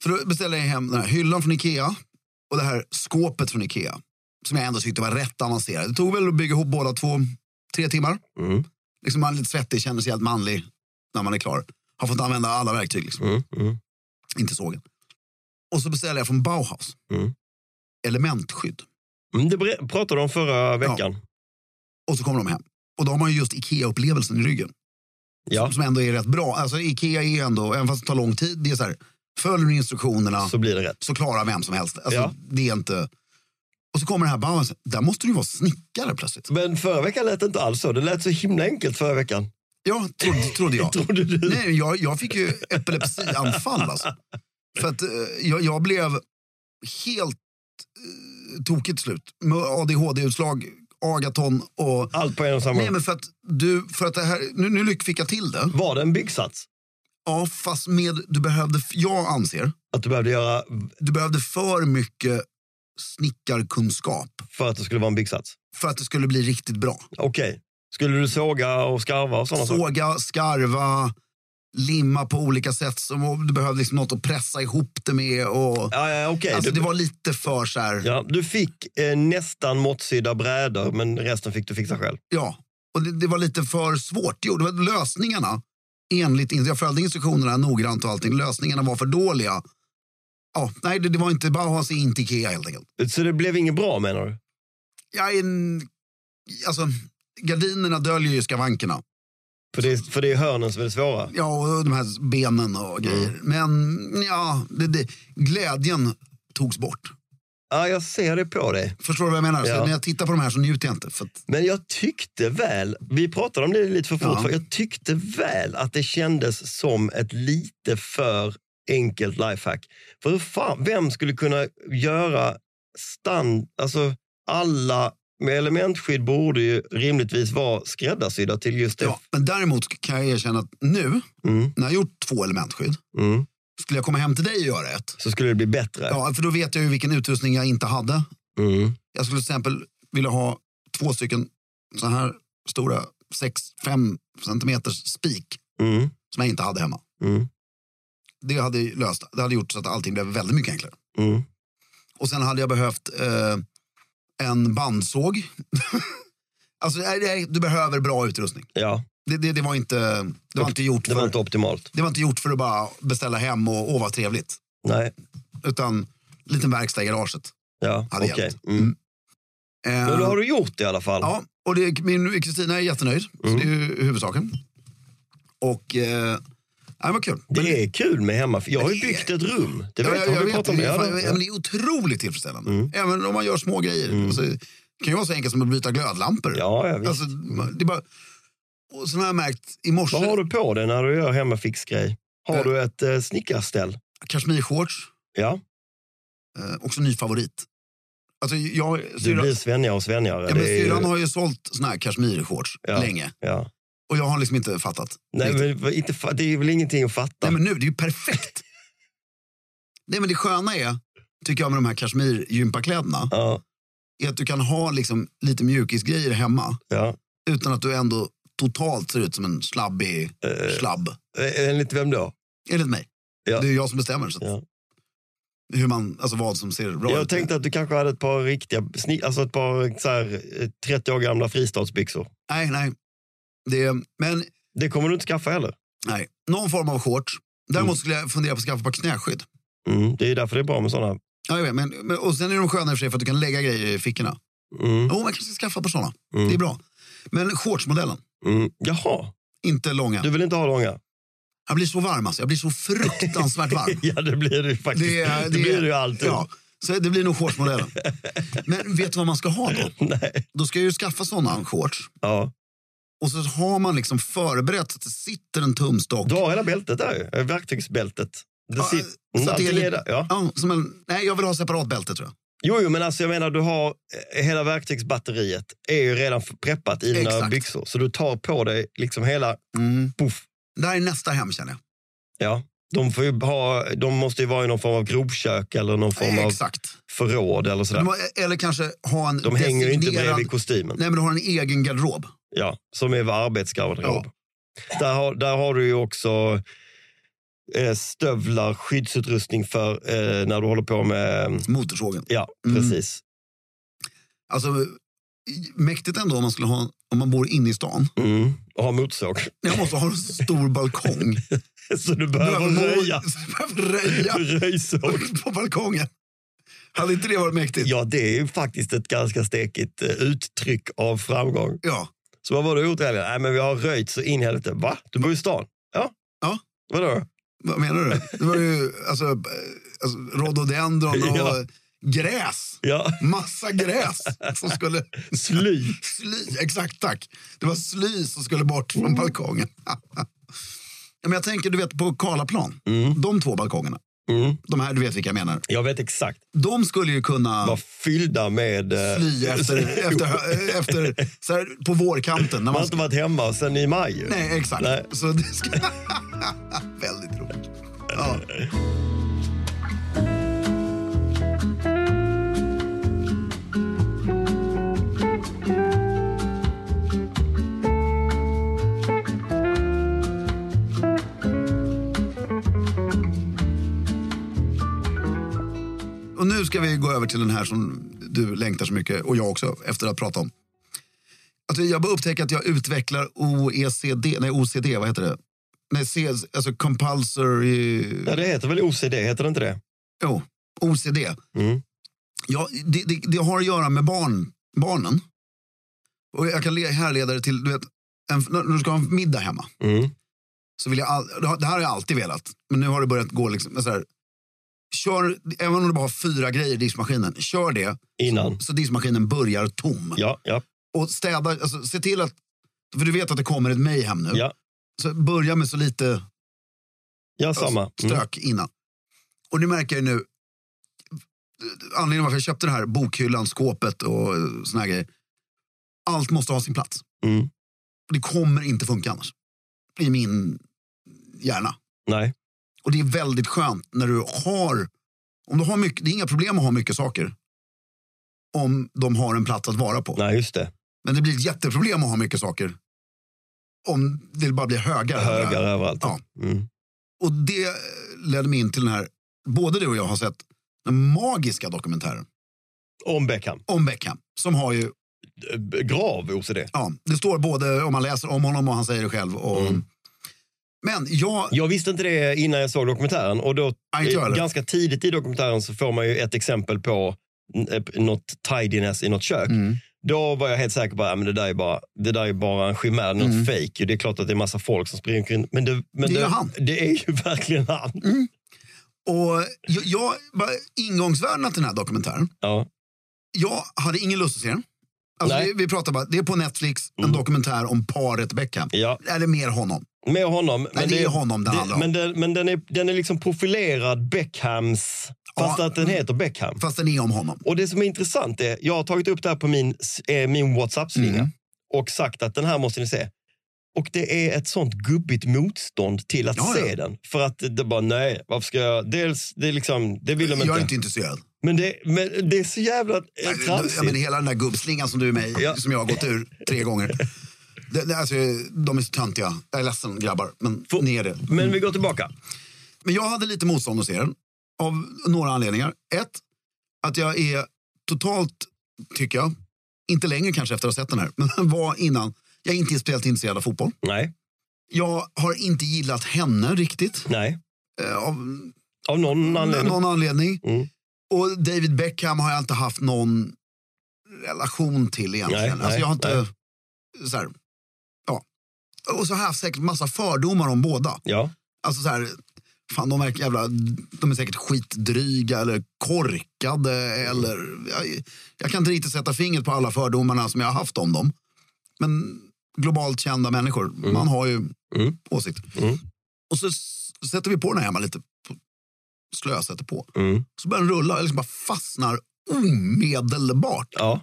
Speaker 1: för då beställde jag hem den här hyllan från Ikea och det här skåpet från Ikea. Som jag ändå tyckte var rätt avancerat. Det tog väl att bygga ihop båda två, tre timmar.
Speaker 2: Mm.
Speaker 1: Liksom man är lite svettig, känner sig helt manlig när man är klar. Har fått använda alla verktyg, liksom.
Speaker 2: Mm. Mm.
Speaker 1: inte sågen. Och så beställde jag från Bauhaus,
Speaker 2: Mm.
Speaker 1: elementskydd.
Speaker 2: Mm. Det bre- pratade de om förra veckan.
Speaker 1: Och så kommer de hem. Och då har man ju just Ikea-upplevelsen i ryggen.
Speaker 2: Ja.
Speaker 1: Som ändå är rätt bra. Alltså Ikea är ju ändå, även fast det tar lång tid, det är så här, följer du instruktionerna.
Speaker 2: Så blir det rätt.
Speaker 1: så klarar vem som helst. Alltså,
Speaker 2: Ja.
Speaker 1: Det är inte... Och så kommer det här Bauhaus, där måste du ju vara snickare plötsligt.
Speaker 2: Men förra veckan lät det inte alls så. Det lät så himla enkelt förra veckan.
Speaker 1: Ja, trodde, trodde jag.
Speaker 2: Trodde du?
Speaker 1: Nej, jag, jag fick ju epilepsianfall alltså. För att eh, jag, jag blev helt eh, tokigt slut. Med ADHD-utslag, agaton och...
Speaker 2: Allt på en och samma
Speaker 1: Nej, men för att du, för att det här, nu, nu lyck- fick jag till det.
Speaker 2: Var det en byggsats?
Speaker 1: Ja, fast med, du behövde, jag anser,
Speaker 2: Att du behövde göra
Speaker 1: du behövde för mycket snickarkunskap
Speaker 2: för att det skulle vara en byggsats?
Speaker 1: för att det skulle bli riktigt bra.
Speaker 2: Okej. Skulle du såga och skarva och sådana saker?
Speaker 1: såga, skarva, limma på olika sätt. Som, du behövde liksom något att pressa ihop det med. Och,
Speaker 2: Ja, ja, okej.
Speaker 1: alltså,
Speaker 2: du,
Speaker 1: det var lite för så här... Ja.
Speaker 2: ja, du fick eh, nästan måttsydda brädor, men resten fick du fixa själv.
Speaker 1: Och det, det var lite för svårt. Jo, det var lösningarna, enligt, jag följde instruktionerna noggrant och allting. Lösningarna var för dåliga. Ja, nej, det, det var inte Bauhaus, är inte Ikea helt enkelt.
Speaker 2: Så det blev inget bra, menar du?
Speaker 1: Jag är en, alltså, gardinerna döljer ju skavankerna.
Speaker 2: För det, är, för det är hörnen som är det svåra.
Speaker 1: Ja, och de här benen och
Speaker 2: Mm.
Speaker 1: grejer. Men ja, det, det, glädjen togs bort.
Speaker 2: Ja, jag ser det på dig.
Speaker 1: Förstår du vad jag menar?
Speaker 2: Ja.
Speaker 1: Så när jag tittar på de här så njuter jag inte. För att,
Speaker 2: Men jag tyckte väl, vi pratade om det lite för fort,
Speaker 1: Ja.
Speaker 2: för jag tyckte väl att det kändes som ett lite för enkelt lifehack. För hur fan, vem skulle kunna göra stand, alltså alla med elementskydd borde ju rimligtvis vara skräddarsydda till just det.
Speaker 1: ja. Men däremot kan jag erkänna att nu,
Speaker 2: Mm,
Speaker 1: när jag har gjort två elementskydd,
Speaker 2: mm.
Speaker 1: skulle jag komma hem till dig och göra ett.
Speaker 2: Så skulle det bli bättre.
Speaker 1: Ja, för då vet jag ju vilken utrustning jag inte hade.
Speaker 2: Mm.
Speaker 1: Jag skulle till exempel vilja ha två stycken så här stora, 6-5 centimeters spik
Speaker 2: Mm.
Speaker 1: som jag inte hade hemma.
Speaker 2: Mm.
Speaker 1: Det hade ju löst, det hade gjort så att allting blev väldigt mycket enklare.
Speaker 2: Mm.
Speaker 1: Och sen hade jag behövt eh, en bandsåg. alltså, nej, nej, du behöver bra utrustning.
Speaker 2: Ja,
Speaker 1: Det, det, det var inte, det var inte gjort
Speaker 2: det
Speaker 1: för...
Speaker 2: var inte optimalt.
Speaker 1: Det var inte gjort för att bara beställa hem och åh vad trevligt.
Speaker 2: Nej,
Speaker 1: Utan liten verkstad i garaget.
Speaker 2: ja,
Speaker 1: Hade
Speaker 2: okej.
Speaker 1: hjälpt.
Speaker 2: Mm.
Speaker 1: Eh,
Speaker 2: Men då har du gjort det i alla fall.
Speaker 1: Ja, och det, min Kristina är jättenöjd.
Speaker 2: Mm.
Speaker 1: Så det är ju huvudsaken. Och eh, ja, det var kul. Men-
Speaker 2: Det är kul med hemma. Jag har ju
Speaker 1: Det är-
Speaker 2: byggt ett rum. Det
Speaker 1: Ja,
Speaker 2: vet,
Speaker 1: ja,
Speaker 2: har
Speaker 1: jag
Speaker 2: vi
Speaker 1: vet,
Speaker 2: pratat
Speaker 1: det,
Speaker 2: om.
Speaker 1: är
Speaker 2: Ja, Mm.
Speaker 1: fan- ja, men det
Speaker 2: det.
Speaker 1: är otroligt tillfredsställande. Även om man gör små grejer. Alltså, det kan ju vara så enkelt som att byta glödlampor.
Speaker 2: Mm. Ja, ja, visst.
Speaker 1: alltså, det är bara, och sen har jag märkt i morse,
Speaker 2: Vad har du på dig när du gör hemmafixgrej? Har du ett eh, snickarställ?
Speaker 1: kashmirshorts,
Speaker 2: Ja,
Speaker 1: eh, också ny favorit. Alltså, jag,
Speaker 2: du
Speaker 1: syrran-
Speaker 2: blir svennigare och svennigare.
Speaker 1: Ja, men
Speaker 2: Det är ju-
Speaker 1: syrran har ju sålt såna här kashmirshorts
Speaker 2: Ja.
Speaker 1: länge.
Speaker 2: ja.
Speaker 1: Och jag har liksom inte fattat.
Speaker 2: Nej,
Speaker 1: riktigt.
Speaker 2: men, vad- inte, fa- det är väl ingenting att fatta?
Speaker 1: Nej, men nu, det är ju perfekt. Nej, men det sköna är, tycker jag med de här kashmir-gympakläderna,
Speaker 2: Ja,
Speaker 1: är att du kan ha liksom, lite mjukisgrejer hemma
Speaker 2: ja.
Speaker 1: utan att du ändå totalt ser ut som en slabbig slabb.
Speaker 2: Eh, Enligt vem då?
Speaker 1: Enligt mig.
Speaker 2: Ja.
Speaker 1: Det är ju jag som bestämmer. Så att,
Speaker 2: Ja.
Speaker 1: hur man, alltså vad som ser bra
Speaker 2: Jag
Speaker 1: ut.
Speaker 2: tänkte att du kanske hade ett par riktiga, sni- alltså ett par så här, eh, 30 år gamla fristadsbyxor.
Speaker 1: Nej, nej. Det, men
Speaker 2: Det kommer du inte skaffa heller.
Speaker 1: nej, någon form av shorts. Däremot skulle jag fundera på att skaffa ett par knäskydd.
Speaker 2: Mm. Det är därför det är bra med sådana.
Speaker 1: Ja, jag vet, men, men, och sen är de sköna i och för sig för att du kan lägga grejer i fickorna.
Speaker 2: Mm.
Speaker 1: Jo, man kanske ska skaffa ett par sådana.
Speaker 2: Mm.
Speaker 1: Det är bra. Men shortsmodellen,
Speaker 2: Mm. Jaha,
Speaker 1: inte långa.
Speaker 2: du vill inte ha långa?
Speaker 1: Jag blir så varm alltså. Jag blir så fruktansvärt varm.
Speaker 2: Ja, det blir du faktiskt.
Speaker 1: Det,
Speaker 2: Det,
Speaker 1: är-
Speaker 2: blir du ju alltid.
Speaker 1: Ja, så det blir nog shortsmodellen. Men vet du vad man ska ha då?
Speaker 2: Nej.
Speaker 1: Då ska jag ju skaffa sådana shorts.
Speaker 2: Ja.
Speaker 1: Och så har man liksom förberett så att det sitter en tumstock.
Speaker 2: Du har hela bältet där ju, eh, verktygsbältet. Det
Speaker 1: Ja,
Speaker 2: sitter,
Speaker 1: så
Speaker 2: mm,
Speaker 1: att det är
Speaker 2: allting är
Speaker 1: lite-
Speaker 2: där, ja.
Speaker 1: Ja, som en, nej, jag vill ha separat bälte tror jag.
Speaker 2: Jo, jo, men alltså jag menar du har eh, hela verktygsbatteriet är ju redan f- preppat i dina
Speaker 1: Exakt.
Speaker 2: byxor. Så du tar på dig liksom hela,
Speaker 1: Mm.
Speaker 2: puff.
Speaker 1: Det här är nästa hem känner jag.
Speaker 2: Ja. De, får ju ha, de måste ju vara i någon form av grovkök eller någon form av
Speaker 1: Exakt.
Speaker 2: förråd eller sådär.
Speaker 1: De har, eller kanske ha en
Speaker 2: De hänger ju inte
Speaker 1: designerad-
Speaker 2: bredvid kostymen.
Speaker 1: Nej, men du har en egen garderob.
Speaker 2: Ja, som är arbetsgarderob. Där, har, där har du ju också eh, stövlar, skyddsutrustning för eh, när du håller på med...
Speaker 1: Motorsågen.
Speaker 2: Ja,
Speaker 1: Mm.
Speaker 2: precis.
Speaker 1: Alltså, mäktigt ändå om man, skulle ha, om man bor inne i stan.
Speaker 2: Mm. Och ha motorsåg.
Speaker 1: Jag måste ha en stor balkong.
Speaker 2: Så du behöver röja.
Speaker 1: Behöver röja
Speaker 2: Röjsåg.
Speaker 1: på balkongen. Hade inte det varit mäktigt?
Speaker 2: Ja, det är ju faktiskt ett ganska stekigt eh, uttryck av framgång.
Speaker 1: Ja.
Speaker 2: Så vad var du gjort i helgen? Nej, men vi har röjt så in i helvete. Va? Du bor i stan? Ja.
Speaker 1: Ja.
Speaker 2: Vadå?
Speaker 1: Vad menar du? Det var ju alltså, eh, alltså, rhododendron och
Speaker 2: Ja.
Speaker 1: gräs.
Speaker 2: Ja.
Speaker 1: Massa gräs som skulle...
Speaker 2: Sly.
Speaker 1: Sly, exakt tack. Det var sly som skulle bort från balkongen. ja, men jag tänker du vet på Karlaplan, de två balkongerna.
Speaker 2: Mm.
Speaker 1: De här, du vet vilka jag menar.
Speaker 2: Jag vet exakt.
Speaker 1: De skulle ju kunna
Speaker 2: Var fyllda med... eh,
Speaker 1: sly efter, efter, efter så här, på vårkanten. När
Speaker 2: Man
Speaker 1: man
Speaker 2: har inte varit hemma sen i maj. ju.
Speaker 1: Nej, exakt.
Speaker 2: Nej.
Speaker 1: Så det ska... Väldigt roligt. Ja. Och nu ska vi gå över till den här som du längtar så mycket, och jag också, efter att prata om. Alltså jag bara upptäcker att jag utvecklar OECD, nej OCD, vad heter det? Nej, C, alltså compulsory...
Speaker 2: Ja, det heter väl OCD, heter det inte det?
Speaker 1: Jo, OCD.
Speaker 2: Mm.
Speaker 1: Ja, det, det, det har att göra med barn, barnen. Och jag kan le- härleda det till, du vet, en, när du ska ha en middag hemma.
Speaker 2: Mm.
Speaker 1: Så vill jag all, det här har jag alltid velat, men nu har det börjat gå liksom, så här, kör, även om du bara har fyra grejer i diskmaskinen, kör det
Speaker 2: Innan.
Speaker 1: så diskmaskinen börjar tom.
Speaker 2: Ja, ja,
Speaker 1: Och städa, alltså, se till att, för du vet att det kommer ett mayhem nu.
Speaker 2: ja.
Speaker 1: Så börja med så lite
Speaker 2: Ja, samma. Mm.
Speaker 1: stök innan. Och det märker jag ju nu. Anledningen varför jag köpte det här bokhyllan, skåpet och eh, såna här grejer. Allt måste ha sin plats.
Speaker 2: Mm.
Speaker 1: Det kommer inte funka annars. I min hjärna.
Speaker 2: Nej.
Speaker 1: Och det är väldigt skönt när du har... Om du har mycket, det är inga problem att ha mycket saker. Om de har en plats att vara på.
Speaker 2: Nej, just det.
Speaker 1: Men det blir ett jätteproblem att ha mycket saker. Om det bara blir högar.
Speaker 2: Högar överallt.
Speaker 1: Ja.
Speaker 2: Mm.
Speaker 1: Och det ledde mig in till den här, både du och jag har sett den magiska dokumentären
Speaker 2: Om Beckham.
Speaker 1: om Beckham. Som har ju,
Speaker 2: Eh, b- Grav OCD.
Speaker 1: ja, det står både om man läser om honom och han säger det själv. Och,
Speaker 2: Mm.
Speaker 1: Men jag,
Speaker 2: Jag visste inte det innan jag såg dokumentären. Och då,
Speaker 1: Nej, inte jag heller.
Speaker 2: ganska tidigt i dokumentären så får man ju ett exempel på eh, något tidiness i något kök.
Speaker 1: Mm.
Speaker 2: Då var jag helt säker på att det, där är bara- det där är bara en chimär, något fake. Det är klart att det är massa folk som springer omkring. Men det, men
Speaker 1: Mm. Det är ju han. Mm.
Speaker 2: Det är ju verkligen han.
Speaker 1: och jag, jag bara, ingångsvärdena till den här dokumentären,
Speaker 2: Ja.
Speaker 1: jag hade ingen lust att se den. Alltså,
Speaker 2: Nej. Mm.
Speaker 1: vi, vi pratar bara, det är på Netflix, en dokumentär om paret Beckham.
Speaker 2: Ja.
Speaker 1: Eller mer honom.
Speaker 2: Med honom. men
Speaker 1: det är honom det handlar om.
Speaker 2: Men, den, men den, är, den är liksom profilerad Beckhams, fast
Speaker 1: Ja.
Speaker 2: att den heter Beckham.
Speaker 1: Fast den är om honom.
Speaker 2: Och det som är intressant är, jag har tagit upp det här på min, s- eh, min WhatsApp-slinga
Speaker 1: Mm.
Speaker 2: och sagt att den här måste ni se. Och det är ett sånt gubbigt motstånd till att
Speaker 1: Ja, ja.
Speaker 2: se den. För att det bara, nej, varför ska jag... Dels, det är liksom, det vill de
Speaker 1: Jag
Speaker 2: inte.
Speaker 1: är inte intresserad.
Speaker 2: Men, det, men det är så jävla eh,
Speaker 1: Ja,
Speaker 2: tramsigt.
Speaker 1: men hela den där gubbslingan som du är med i,
Speaker 2: Ja.
Speaker 1: som jag har gått ur tre gånger. Det, det, alltså, de är så töntiga. Jag är ledsen grabbar, men
Speaker 2: Få-
Speaker 1: ni är det.
Speaker 2: Men vi går tillbaka.
Speaker 1: Men jag hade lite motstånd hos er av några anledningar. Ett, att jag är totalt, tycker jag, inte längre kanske efter att ha sett den här, men var innan. Jag är inte speciellt intresserad av fotboll.
Speaker 2: Nej,
Speaker 1: Jag har inte gillat henne riktigt
Speaker 2: nej.
Speaker 1: eh, av
Speaker 2: Av någon anledning.
Speaker 1: någon anledning.
Speaker 2: Mm.
Speaker 1: Och David Beckham har jag inte haft någon relation till egentligen.
Speaker 2: Nej,
Speaker 1: alltså
Speaker 2: nej,
Speaker 1: jag har inte... Så här, ja. Och så har jag haft säkert massa fördomar om båda.
Speaker 2: Ja,
Speaker 1: Alltså så här, fan de verkar jävla, de är säkert skitdryga eller korkade eller, jag, jag kan inte riktigt sätta fingret på alla fördomarna som jag har haft om dem. Men globalt kända människor, man har ju
Speaker 2: Mm.
Speaker 1: åsikt.
Speaker 2: Mm.
Speaker 1: Och så s- sätter vi på den här hemma lite, på- slösätter på.
Speaker 2: mm.
Speaker 1: Så börjar den rulla, jag liksom bara fastnar omedelbart.
Speaker 2: ja.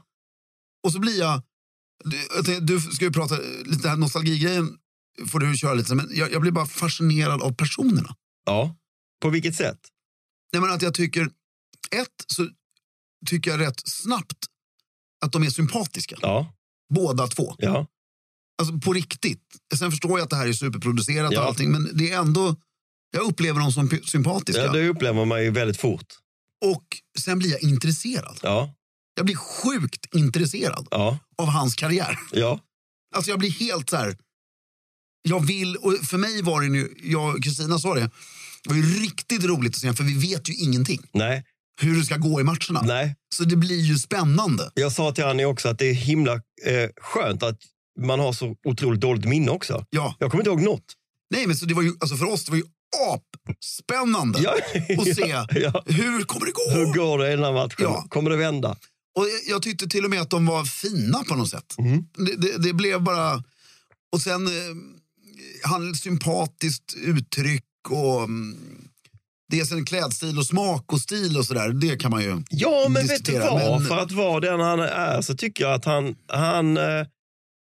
Speaker 1: Och så blir jag... Du, jag tänkte, du ska ju prata lite här nostalgigrejen får du köra lite sen, men jag, jag blir bara fascinerad av personerna.
Speaker 2: ja. På vilket sätt?
Speaker 1: Nej, men att jag tycker... Ett, så tycker jag rätt snabbt att de är sympatiska.
Speaker 2: Ja,
Speaker 1: Båda två.
Speaker 2: ja.
Speaker 1: Alltså på riktigt. Sen förstår jag att det här är superproducerat
Speaker 2: Ja.
Speaker 1: och allting, men det är ändå... Jag upplever dem som py- sympatiska.
Speaker 2: ja. Det upplever man ju väldigt fort.
Speaker 1: Och sen blir jag intresserad.
Speaker 2: Ja,
Speaker 1: Jag blir sjukt intresserad
Speaker 2: ja,
Speaker 1: av hans karriär.
Speaker 2: ja.
Speaker 1: Alltså jag blir helt så här... Jag vill, och för mig var det nu, jag och Kristina sa det, det var ju riktigt roligt att se för vi vet ju ingenting
Speaker 2: Nej,
Speaker 1: hur det ska gå i matcherna.
Speaker 2: nej.
Speaker 1: Så det blir ju spännande.
Speaker 2: Jag sa till Annie också att det är himla eh, skönt att man har så otroligt dåligt minne också.
Speaker 1: Ja.
Speaker 2: Jag kommer inte ihåg något.
Speaker 1: Nej men så det var ju, alltså för oss det var ju apspännande
Speaker 2: Ja.
Speaker 1: att se
Speaker 2: Ja.
Speaker 1: hur kommer det gå?
Speaker 2: Hur går det i den här matchen?
Speaker 1: Ja.
Speaker 2: Kommer det vända?
Speaker 1: Och jag, jag tyckte till och med att de var fina på något sätt.
Speaker 2: Mm.
Speaker 1: Det, det, det blev bara... Och sen eh, han sympatiskt uttryck och mm, det är sen klädstil och smak och stil och sådär. Det kan man ju...
Speaker 2: Ja, men vet du
Speaker 1: Diskutera,
Speaker 2: vad?
Speaker 1: men-
Speaker 2: För att vara den han är så tycker jag att han, han, eh,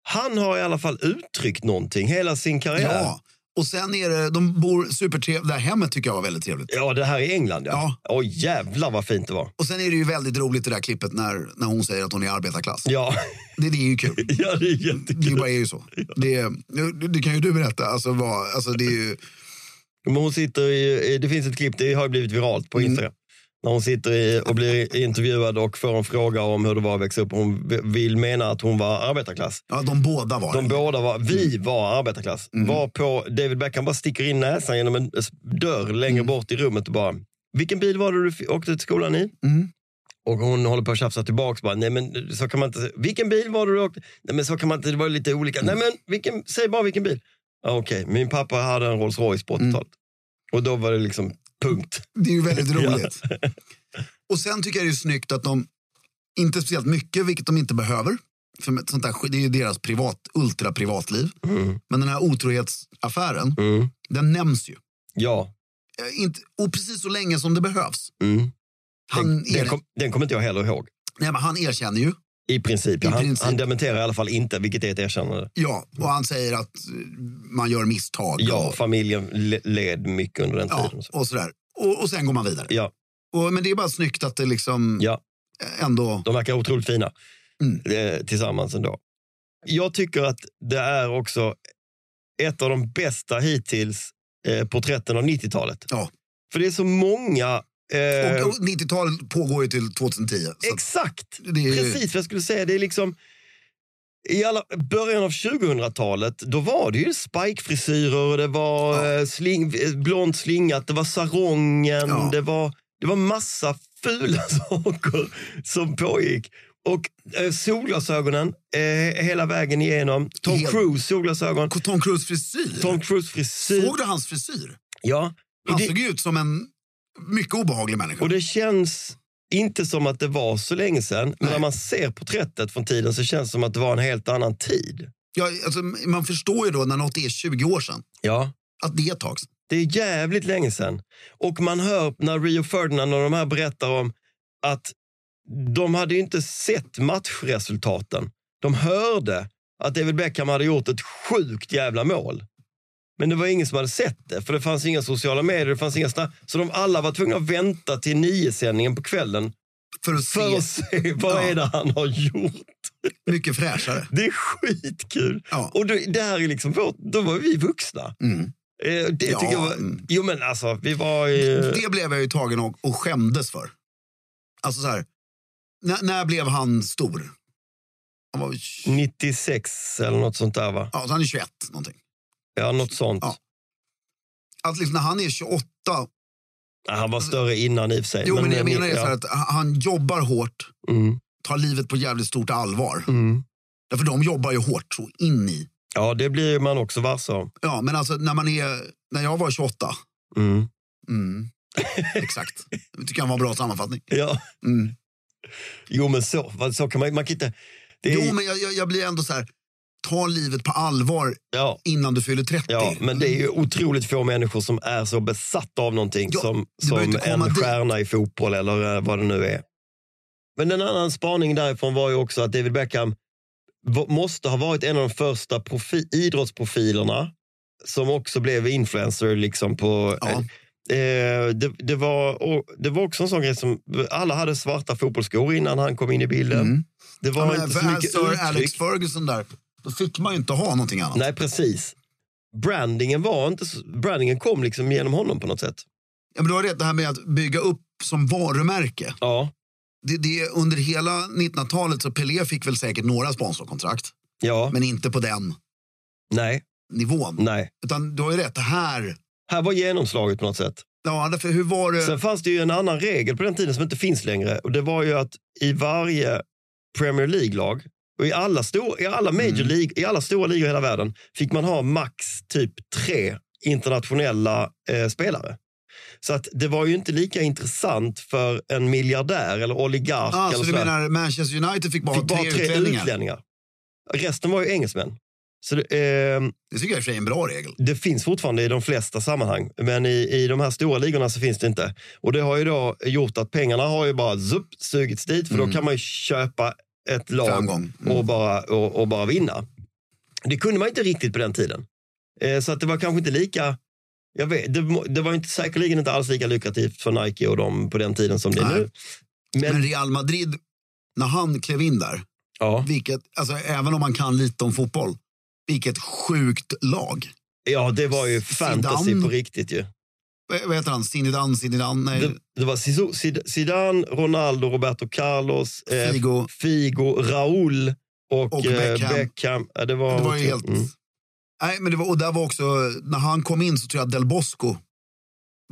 Speaker 2: han har i alla fall uttryckt någonting hela sin karriär.
Speaker 1: Ja. Och sen är det, de bor supertrevligt, det här hemmet tycker jag var väldigt trevligt.
Speaker 2: Ja, det här är England ja. Åh jävlar vad fint det var.
Speaker 1: Och sen är det ju väldigt roligt det där klippet när, när hon säger att hon är arbetarklass.
Speaker 2: Ja,
Speaker 1: Det, det är ju kul.
Speaker 2: ja det är
Speaker 1: Det är ju
Speaker 2: jättekul.
Speaker 1: bara är ju så. Det, det, det kan ju du berätta. Alltså, vad, alltså det är ju,
Speaker 2: Men hon sitter i, det finns ett klipp, det har ju blivit viralt på Instagram. När hon sitter i, och blir intervjuad och får en fråga om hur det var att växa upp. Hon vill mena att hon var arbetarklass.
Speaker 1: ja, de båda var
Speaker 2: De
Speaker 1: det.
Speaker 2: båda var,
Speaker 1: Mm.
Speaker 2: vi var arbetarklass. Var på David Beckham bara sticker in näsan genom en eh, dörr längre
Speaker 1: Mm.
Speaker 2: bort i rummet och bara, vilken bil var det du f- åkte till skolan i?
Speaker 1: Mm.
Speaker 2: Och hon håller på att tjafsa tillbaka. Bara, Nej, men eh, så kan man inte. Vilken bil var det du åkte? Nej, men så kan man inte. Det var lite olika. Nej,
Speaker 1: Mm.
Speaker 2: men vilken, säg bara vilken bil. Ja, Okej, min pappa hade en Rolls Royce på
Speaker 1: Mm.
Speaker 2: 80-talet. Och då var det liksom punkt.
Speaker 1: Det är ju väldigt roligt. Och sen tycker jag det är snyggt att de, inte speciellt mycket, vilket de inte behöver. För med sånt där, skit- det är ju deras privat, ultraprivatliv. Men den här otrohetsaffären,
Speaker 2: Mm.
Speaker 1: den nämns ju.
Speaker 2: Ja.
Speaker 1: Eh, Inte, och precis så länge som det behövs.
Speaker 2: Mm.
Speaker 1: Han,
Speaker 2: den, den,
Speaker 1: er,
Speaker 2: kom, den kommer inte jag heller ihåg.
Speaker 1: nej, men han erkänner ju.
Speaker 2: I princip. ja.
Speaker 1: I
Speaker 2: han,
Speaker 1: princip.
Speaker 2: han dementerar i alla fall inte, vilket är ett erkännande.
Speaker 1: Ja, och han säger att eh, man gör misstag.
Speaker 2: Ja,
Speaker 1: och,
Speaker 2: familjen le- led mycket under den
Speaker 1: ja,
Speaker 2: tiden. Ja.
Speaker 1: och sådär. Och, och sen går man vidare.
Speaker 2: Ja,
Speaker 1: Och, men det är bara snyggt att det liksom
Speaker 2: ja.
Speaker 1: ändå...
Speaker 2: De verkar otroligt fina
Speaker 1: Mm.
Speaker 2: eh, tillsammans ändå. Jag tycker att det är också ett av de bästa hittills eh, porträtten av 90-talet.
Speaker 1: Ja.
Speaker 2: För det är så många... eh,
Speaker 1: Och, och 90-talet pågår ju till 2010. Så att
Speaker 2: exakt!
Speaker 1: det är ju-
Speaker 2: Precis vad jag skulle säga. Det är liksom... I alla, början av 2000-talet då var det ju spikefrisyrer, och det var
Speaker 1: Ja.
Speaker 2: eh, sling, eh, blont slingat, det var sarongen,
Speaker 1: Ja.
Speaker 2: det, var, det var massa fula saker som pågick. Och eh, solglasögonen eh, hela vägen igenom. Tom
Speaker 1: Helt-
Speaker 2: Cruise solglasögon,
Speaker 1: Tom Cruise frisyr.
Speaker 2: Tom Cruise frisyr.
Speaker 1: Såg du Alltså, hans frisyr?
Speaker 2: Ja. Och
Speaker 1: Han
Speaker 2: det,
Speaker 1: såg ju ut som en mycket obehaglig människa.
Speaker 2: och det känns inte som att det var så länge sedan, men
Speaker 1: Nej.
Speaker 2: när man ser porträttet från tiden så känns det som att det var en helt annan tid.
Speaker 1: ja, alltså, man förstår ju då när något är 20 år sedan
Speaker 2: Ja.
Speaker 1: att det är ett tag sedan.
Speaker 2: Det är jävligt länge sedan. Och man hör när Rio Ferdinand och de här berättar om att de hade ju inte sett matchresultaten. De hörde att David Beckham hade gjort ett sjukt jävla mål. Men det var ingen som hade sett det, för det fanns inga sociala medier. Det fanns inga sna- så de alla var tvungna att vänta till nio-sändningen på kvällen
Speaker 1: För att se.
Speaker 2: för att se vad
Speaker 1: Ja.
Speaker 2: är det han har gjort.
Speaker 1: Mycket fräschare.
Speaker 2: Det är skitkul.
Speaker 1: Ja.
Speaker 2: Och då, det här är liksom vårt, då var vi vuxna.
Speaker 1: Mm.
Speaker 2: Eh, Det
Speaker 1: Ja,
Speaker 2: tycker jag var,
Speaker 1: mm.
Speaker 2: jo men alltså, vi var ju...
Speaker 1: Det blev jag ju tagen av och skämdes för. Alltså så här, när, när blev han stor? Han var ju tj-
Speaker 2: Mm. 96 eller något sånt där va?
Speaker 1: ja, så han är 21 någonting.
Speaker 2: Ja, något sånt.
Speaker 1: Ja. Alltså liksom när han är 28,
Speaker 2: Ja, Han var större innan i och för sig.
Speaker 1: jo men, jag menar det
Speaker 2: ja.
Speaker 1: så här att han- han jobbar hårt,
Speaker 2: Mm,
Speaker 1: tar livet på jävligt stort allvar.
Speaker 2: mm.
Speaker 1: Därför de jobbar ju hårt så in i.
Speaker 2: Ja, det blir man också varse om.
Speaker 1: Ja, men alltså när man är, när jag var 28,
Speaker 2: Mm.
Speaker 1: mm, exakt. Det tycker jag var en bra sammanfattning.
Speaker 2: Ja.
Speaker 1: Mm.
Speaker 2: Jo, men så, vad- så kan man, man kan inte... Det är,
Speaker 1: Jo, men jag, jag, jag blir ändå så här, ta livet på allvar
Speaker 2: ja,
Speaker 1: innan du fyller 30.
Speaker 2: ja, men det är ju otroligt få människor som är så besatta av någonting
Speaker 1: Ja,
Speaker 2: som,
Speaker 1: du behöver
Speaker 2: som
Speaker 1: inte komma
Speaker 2: en
Speaker 1: dit.
Speaker 2: stjärna i fotboll eller eh, vad det nu är. Men en annan spaning därifrån var ju också att David Beckham v- måste ha varit en av de första profi, idrottsprofilerna som också blev influencer liksom på...
Speaker 1: Ja.
Speaker 2: Eh, det, det, var, och det var också en sån grej som alla hade svarta fotbollsskor innan han kom in i bilden.
Speaker 1: Mm.
Speaker 2: Det var
Speaker 1: Ja, men liksom-
Speaker 2: inte
Speaker 1: för
Speaker 2: så mycket
Speaker 1: Sir
Speaker 2: uttryck.
Speaker 1: Alex Ferguson där, då fick man ju inte ha någonting annat.
Speaker 2: Nej, precis. Brandingen var inte så, brandingen kom liksom genom honom på något sätt.
Speaker 1: Ja, men du har rätt, det här med att bygga upp som varumärke.
Speaker 2: Ja,
Speaker 1: Det, det, är under hela 1900-talet så Pelé fick väl säkert några sponsorkontrakt,
Speaker 2: ja,
Speaker 1: men inte på den
Speaker 2: nej,
Speaker 1: nivån.
Speaker 2: nej.
Speaker 1: Utan du har ju rätt, det här...
Speaker 2: Här var genomslaget på något sätt.
Speaker 1: Ja, därför, hur var det?
Speaker 2: Sen fanns det ju en annan regel på den tiden som inte finns längre och det var ju att i varje Premier League-lag och i alla, stor, i
Speaker 1: Mm.
Speaker 2: alla major league, i alla stora ligor i hela världen fick man ha max typ tre internationella eh, spelare. Så att det var ju inte lika intressant för en miljardär eller oligark.
Speaker 1: ah,
Speaker 2: eller
Speaker 1: så du
Speaker 2: sådär.
Speaker 1: menar Manchester United fick bara
Speaker 2: Alltså- fick
Speaker 1: ha
Speaker 2: bara
Speaker 1: tre, utlänningar?
Speaker 2: Resten var ju engelsmän. Så det, eh,
Speaker 1: Det tycker jag i och för sig är en bra regel.
Speaker 2: det finns fortfarande i de flesta sammanhang, men i, i de här stora ligorna så finns det inte. Och det har ju då gjort att pengarna har ju bara zup, sugits dit, för då kan man ju köpa ett lag
Speaker 1: Mm. Framgång. Mm.
Speaker 2: och, bara, och, och bara vinna. Det kunde man inte riktigt på den tiden. Eh, så att det var kanske inte lika... Jag vet, det, må- det var inte, säkerligen inte alls lika lukrativt för Nike och dem på den tiden som det är
Speaker 1: Nej.
Speaker 2: nu. Men,
Speaker 1: Men Real Madrid, när han klev in där,
Speaker 2: ja,
Speaker 1: vilket, alltså, även om man kan lite om fotboll, vilket sjukt lag.
Speaker 2: ja, det var ju fantasy
Speaker 1: Zidane.
Speaker 2: på riktigt ju.
Speaker 1: V- Vad heter han? Zinedine, Zinedine, nej,
Speaker 2: Det, det var Sisu- Sid- Zidane, Ronaldo, Roberto Carlos, eh,
Speaker 1: Figo.
Speaker 2: Figo, Raul och,
Speaker 1: Och
Speaker 2: eh,
Speaker 1: Beckham.
Speaker 2: Beckham. Ja, Det var,
Speaker 1: Det var ju helt...
Speaker 2: Mm.
Speaker 1: Nej, men det var, och där var också, när han kom in så tror jag Del Bosco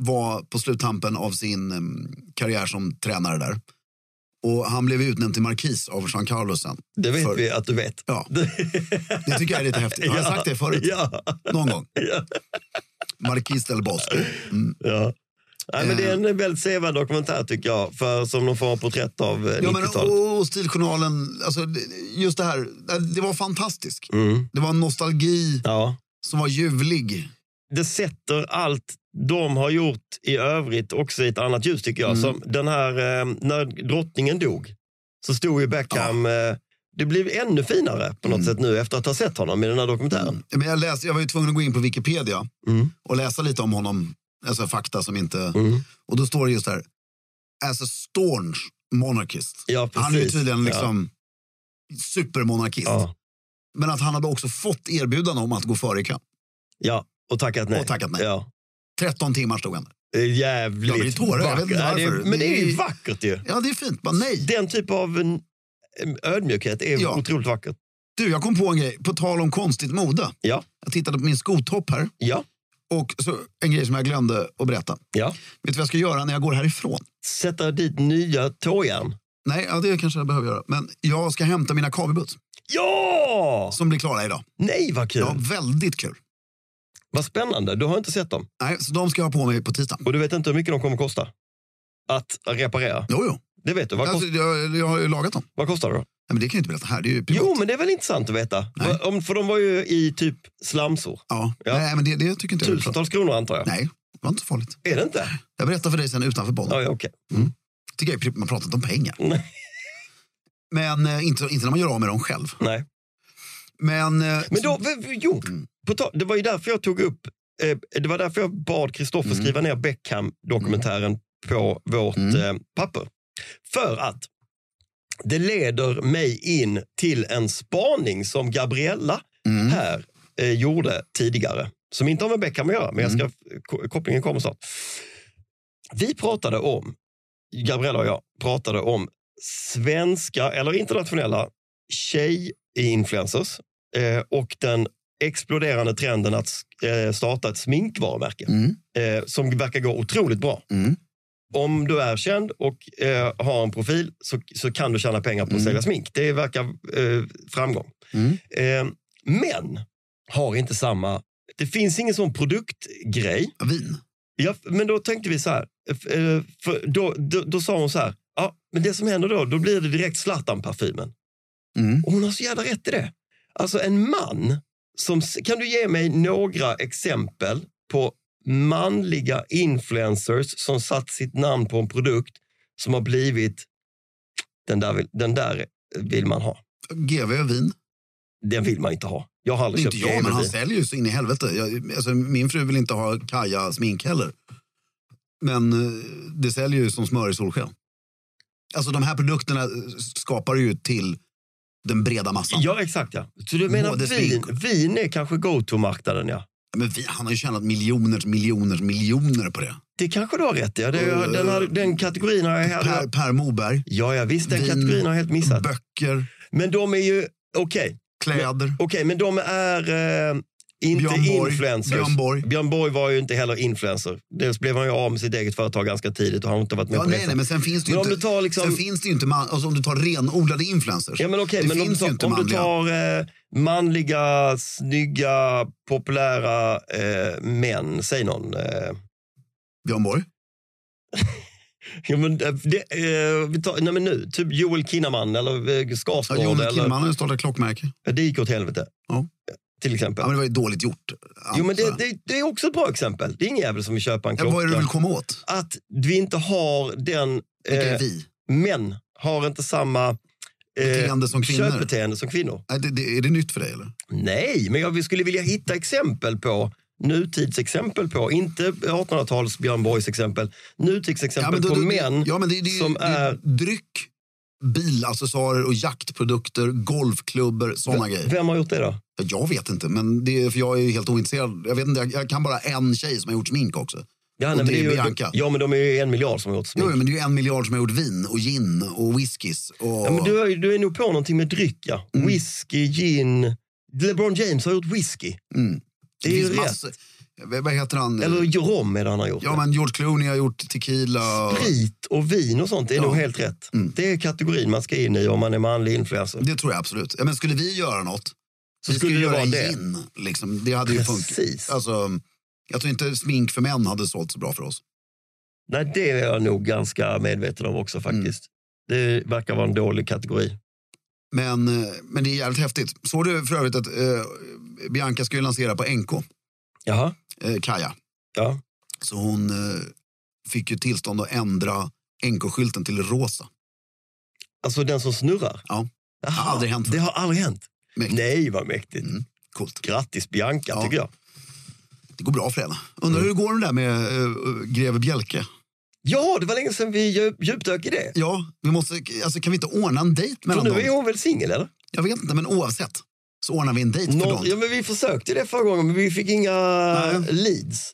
Speaker 1: var på sluttampen av sin em, karriär som tränare där. Och han blev utnämnd till markis av Jean Carlos sen.
Speaker 2: Det vet
Speaker 1: För-
Speaker 2: vi att du vet.
Speaker 1: Ja, det tycker jag är lite häftigt. Har jag sagt det förut?
Speaker 2: Ja.
Speaker 1: Någon gång.
Speaker 2: Ja.
Speaker 1: Marquis del Bosco. Mm.
Speaker 2: ja. Nej, men det är
Speaker 1: Eh.
Speaker 2: en väldigt sevärd dokumentär tycker jag, för, som de får en porträtt av eh,
Speaker 1: Ja, men,
Speaker 2: 90-talet.
Speaker 1: och, och Stiljournalen, alltså, det- just det här. Det var fantastiskt.
Speaker 2: Mm.
Speaker 1: Det var en nostalgi
Speaker 2: Ja.
Speaker 1: som var ljuvlig.
Speaker 2: det sätter allt de har gjort i övrigt också i ett annat ljus tycker jag.
Speaker 1: Mm.
Speaker 2: Som den här, eh, när drottningen dog så stod ju Beckham... eh, Det blev ännu finare på
Speaker 1: Mm.
Speaker 2: något sätt nu efter att ha sett honom i den här dokumentären.
Speaker 1: Men jag, läste, jag var ju tvungen att gå in på Wikipedia
Speaker 2: Mm.
Speaker 1: och läsa lite om honom. Alltså fakta som inte...
Speaker 2: Mm.
Speaker 1: Och då står det just där. As a staunch monarchist.
Speaker 2: Ja, precis.
Speaker 1: han är ju tydligen
Speaker 2: Ja.
Speaker 1: liksom supermonarkist.
Speaker 2: Ja.
Speaker 1: Men att han hade också fått erbjudande om att gå före i kamp.
Speaker 2: ja, och tackat nej.
Speaker 1: Och tackat nej.
Speaker 2: Ja.
Speaker 1: 13 timmar stod han där.
Speaker 2: Det är Jävligt
Speaker 1: Jag blir tårögd, jag vet inte
Speaker 2: Ja, det är,
Speaker 1: varför.
Speaker 2: men det är
Speaker 1: Det
Speaker 2: ju
Speaker 1: är-
Speaker 2: vackert ju.
Speaker 1: Ja, det är fint. Bara nej.
Speaker 2: Den typ av en- en ödmjukhet är
Speaker 1: Ja.
Speaker 2: otroligt vackert.
Speaker 1: Du, jag kom på en grej. På tal om konstigt mode.
Speaker 2: Ja,
Speaker 1: Jag tittade på min skotopp här.
Speaker 2: ja,
Speaker 1: Och så en grej som jag glömde att berätta. Vet
Speaker 2: ja.
Speaker 1: du vad jag ska göra när jag går härifrån?
Speaker 2: Sätta dit nya tåjärn.
Speaker 1: Nej, ja, det kanske jag behöver göra. Men jag ska hämta mina kavibuts
Speaker 2: Ja!
Speaker 1: som blir klara idag.
Speaker 2: Nej, vad kul!
Speaker 1: Ja, väldigt kul.
Speaker 2: Vad spännande. Du har inte sett dem.
Speaker 1: Nej, så de ska jag ha på mig på tisdag.
Speaker 2: Och du vet inte hur mycket de kommer kosta? Att reparera?
Speaker 1: Jo, jo.
Speaker 2: Det vet du. Vad,
Speaker 1: Alltså,
Speaker 2: kost,
Speaker 1: jag, jag har ju lagat dem.
Speaker 2: vad kostar det då?
Speaker 1: Nej, men det kan jag inte berätta här. Det är ju privat.
Speaker 2: Jo, men det är väl intressant att veta? Va- Om, för de var ju i typ slamsor.
Speaker 1: Ja.
Speaker 2: Ja.
Speaker 1: Nej, men det, det tycker inte jag. är privat.
Speaker 2: Tusentals kronor antar jag.
Speaker 1: Nej, det var inte så farligt.
Speaker 2: Är det inte?
Speaker 1: Jag berättar för dig sen utanför podden.
Speaker 2: Ja, ja, okej.
Speaker 1: Tycker jag, är pri- man pratar inte om pengar.
Speaker 2: Nej.
Speaker 1: Men eh, inte, inte när man gör av med dem själv.
Speaker 2: Nej.
Speaker 1: Men, eh,
Speaker 2: Men då, v- v- jo, på tal- det var ju därför jag tog upp, eh, det var därför jag bad Kristoffer skriva ner Beckham-dokumentären på vårt eh, papper. För att Det leder mig in till en spaning som Gabriella här eh, gjorde tidigare. Som inte har med Beckham att göra, men jag ska, ko- kopplingen kommer snart. Vi pratade om, Gabriella och jag pratade om svenska eller internationella tjejinfluencers eh, och den exploderande trenden att eh, starta ett sminkvarumärke
Speaker 1: Mm.
Speaker 2: eh, som verkar gå otroligt bra.
Speaker 1: Mm.
Speaker 2: Om du är känd och eh, har en profil så, så kan du tjäna pengar på att sälja smink. Det verkar eh, framgång.
Speaker 1: Mm.
Speaker 2: Eh, men har inte samma... Det finns ingen sån produktgrej.
Speaker 1: Vin.
Speaker 2: Ja, men då tänkte vi så här. f- eh, För då, då, då sa hon så här. Ja, men det som händer då, då blir det direkt Zlatan-parfymen.
Speaker 1: Mm.
Speaker 2: Och hon har så jävla rätt i det. Alltså en man som... Kan du ge mig några exempel på manliga influencers som satt sitt namn på en produkt som har blivit den där, vill- den där vill man ha.
Speaker 1: GV vin.
Speaker 2: Den vill man inte ha. Jag har aldrig
Speaker 1: Inte
Speaker 2: köpt
Speaker 1: jag, men han
Speaker 2: GV.
Speaker 1: säljer ju så in i helvete. Jag, alltså, min fru vill inte ha Kaja smink heller. Men eh, det säljer ju som smör i solsken. Alltså de här produkterna eh, skapar ju till den breda massan.
Speaker 2: Ja, exakt. ja. Så du menar
Speaker 1: Både
Speaker 2: vin, vin är kanske go-to-marknaden, ja.
Speaker 1: Men vi, han har ju tjänat miljoners, miljoners, miljoner på det.
Speaker 2: Det kanske du har rätt i. Ja, det,
Speaker 1: Eh,
Speaker 2: den, har- den kategorin har jag...
Speaker 1: Per, per Moberg,
Speaker 2: ja, ja, visst, den
Speaker 1: Vin,
Speaker 2: kategorin har jag helt missat.
Speaker 1: böcker,
Speaker 2: Men de är ju... Okej,
Speaker 1: kläder.
Speaker 2: Okej, men de är eh, inte
Speaker 1: Björn Borg.
Speaker 2: influencers.
Speaker 1: Björn Borg.
Speaker 2: Björn Borg var ju inte heller influencer. Dels blev han ju av med sitt eget företag ganska tidigt och har inte varit med
Speaker 1: Ja,
Speaker 2: på
Speaker 1: nej,
Speaker 2: resan.
Speaker 1: nej, men sen finns det ju
Speaker 2: Men om
Speaker 1: inte,
Speaker 2: du tar liksom-
Speaker 1: sen finns det ju inte man, alltså, om du tar renodlade influencers.
Speaker 2: Ja, men okej,
Speaker 1: det
Speaker 2: men om du
Speaker 1: finns ju inte
Speaker 2: tar, om du
Speaker 1: manliga.
Speaker 2: tar eh, manliga, snygga, populära eh, män, säg någon. Eh,
Speaker 1: Björn Borg,
Speaker 2: ja, men, eh, det, eh, vi tar, nej, men nu, typ Joel Kinnaman eller eh,
Speaker 1: ja,
Speaker 2: Skarsgård.
Speaker 1: Joel
Speaker 2: eller,
Speaker 1: Kinnaman har ju startat klockmärke.
Speaker 2: Ja, det gick åt helvete,
Speaker 1: Ja.
Speaker 2: till exempel.
Speaker 1: Ja, men det var ju dåligt gjort.
Speaker 2: jo, men
Speaker 1: antar
Speaker 2: det,
Speaker 1: jag.
Speaker 2: det, det är också ett bra exempel. Det är ingen jävel som vill köpa en
Speaker 1: ja,
Speaker 2: klocka.
Speaker 1: vad är det du vill komma åt?
Speaker 2: att vi inte har den...
Speaker 1: Vilka
Speaker 2: eh,
Speaker 1: är vi?
Speaker 2: män har inte samma eh,
Speaker 1: Beteende som kvinnor.
Speaker 2: köpbeteende som kvinnor.
Speaker 1: Nej, det, det, är det nytt för dig eller?
Speaker 2: Nej, men jag skulle vilja hitta exempel på nutidsexempel på, inte 1800-tals Björn Borgs exempel, nutidsexempel
Speaker 1: då-
Speaker 2: på
Speaker 1: då-
Speaker 2: män
Speaker 1: ja, men det, det,
Speaker 2: som
Speaker 1: det,
Speaker 2: är-
Speaker 1: Dryck, bilaccessoarer och jaktprodukter, golfklubbor, sådana grejer.
Speaker 2: Vem har gjort det då?
Speaker 1: Jag vet inte, men det, är- för jag är ju helt ointresserad. Jag, vet inte, jag, jag kan bara en tjej som har gjort smink också.
Speaker 2: Ja,
Speaker 1: Och
Speaker 2: men
Speaker 1: det är
Speaker 2: ju-
Speaker 1: Bianca.
Speaker 2: ja, men de är ju en miljard som har gjort smink.
Speaker 1: Jo, men det är ju en miljard som har gjort vin och gin och whiskys. Och...
Speaker 2: Ja, men du, är- du är nog på någonting med dryck, ja.
Speaker 1: Mm.
Speaker 2: Whisky, gin. LeBron James har gjort whisky. Det är ju
Speaker 1: finns
Speaker 2: rätt.
Speaker 1: massor. Vad vad heter han?
Speaker 2: Eller rom är det han har gjort.
Speaker 1: Ja, men George Clooney har gjort tequila. och-
Speaker 2: Sprit och vin och sånt är nog helt rätt. Det är kategorin man ska in i om man är manlig influencer.
Speaker 1: Mm. Det tror jag absolut. Ja, men skulle vi göra något
Speaker 2: Så
Speaker 1: vi
Speaker 2: skulle
Speaker 1: skulle
Speaker 2: det
Speaker 1: göra
Speaker 2: vara det.
Speaker 1: gin. Liksom. Det hade ju
Speaker 2: Precis.
Speaker 1: funkat. Alltså, jag tror inte smink för män hade sålt så bra för oss.
Speaker 2: Nej, det är jag nog ganska medveten om också
Speaker 1: Mm.
Speaker 2: faktiskt. Det verkar vara en dålig kategori.
Speaker 1: Men, eh, men det är jävligt häftigt. Såg du för övrigt att eh, Bianca ska ju lansera på NK,
Speaker 2: Jaha,
Speaker 1: eh, Kaja.
Speaker 2: ja.
Speaker 1: Så hon eh, fick ju tillstånd att ändra NK-skylten till rosa.
Speaker 2: Alltså den som snurrar?
Speaker 1: Ja.
Speaker 2: Jaha,
Speaker 1: har aldrig hänt.
Speaker 2: Det har aldrig hänt?
Speaker 1: Mäktigt.
Speaker 2: Nej, vad mäktigt.
Speaker 1: Coolt.
Speaker 2: Grattis Bianca,
Speaker 1: Ja.
Speaker 2: tycker jag.
Speaker 1: Det går bra för henne. Undrar
Speaker 2: Mm.
Speaker 1: hur det går det där med eh, greve Bjelke?
Speaker 2: Ja, det var länge sedan vi djup- djupdök i det.
Speaker 1: Ja, vi måste, alltså, kan vi inte ordna en dejt
Speaker 2: För
Speaker 1: mellan
Speaker 2: nu
Speaker 1: dem?
Speaker 2: är hon väl singel, eller?
Speaker 1: Jag vet inte, men oavsett så ordnar vi en dejt för
Speaker 2: Nå-
Speaker 1: dem.
Speaker 2: ja, men vi försökte det förra gången, men vi fick inga
Speaker 1: Nej.
Speaker 2: leads.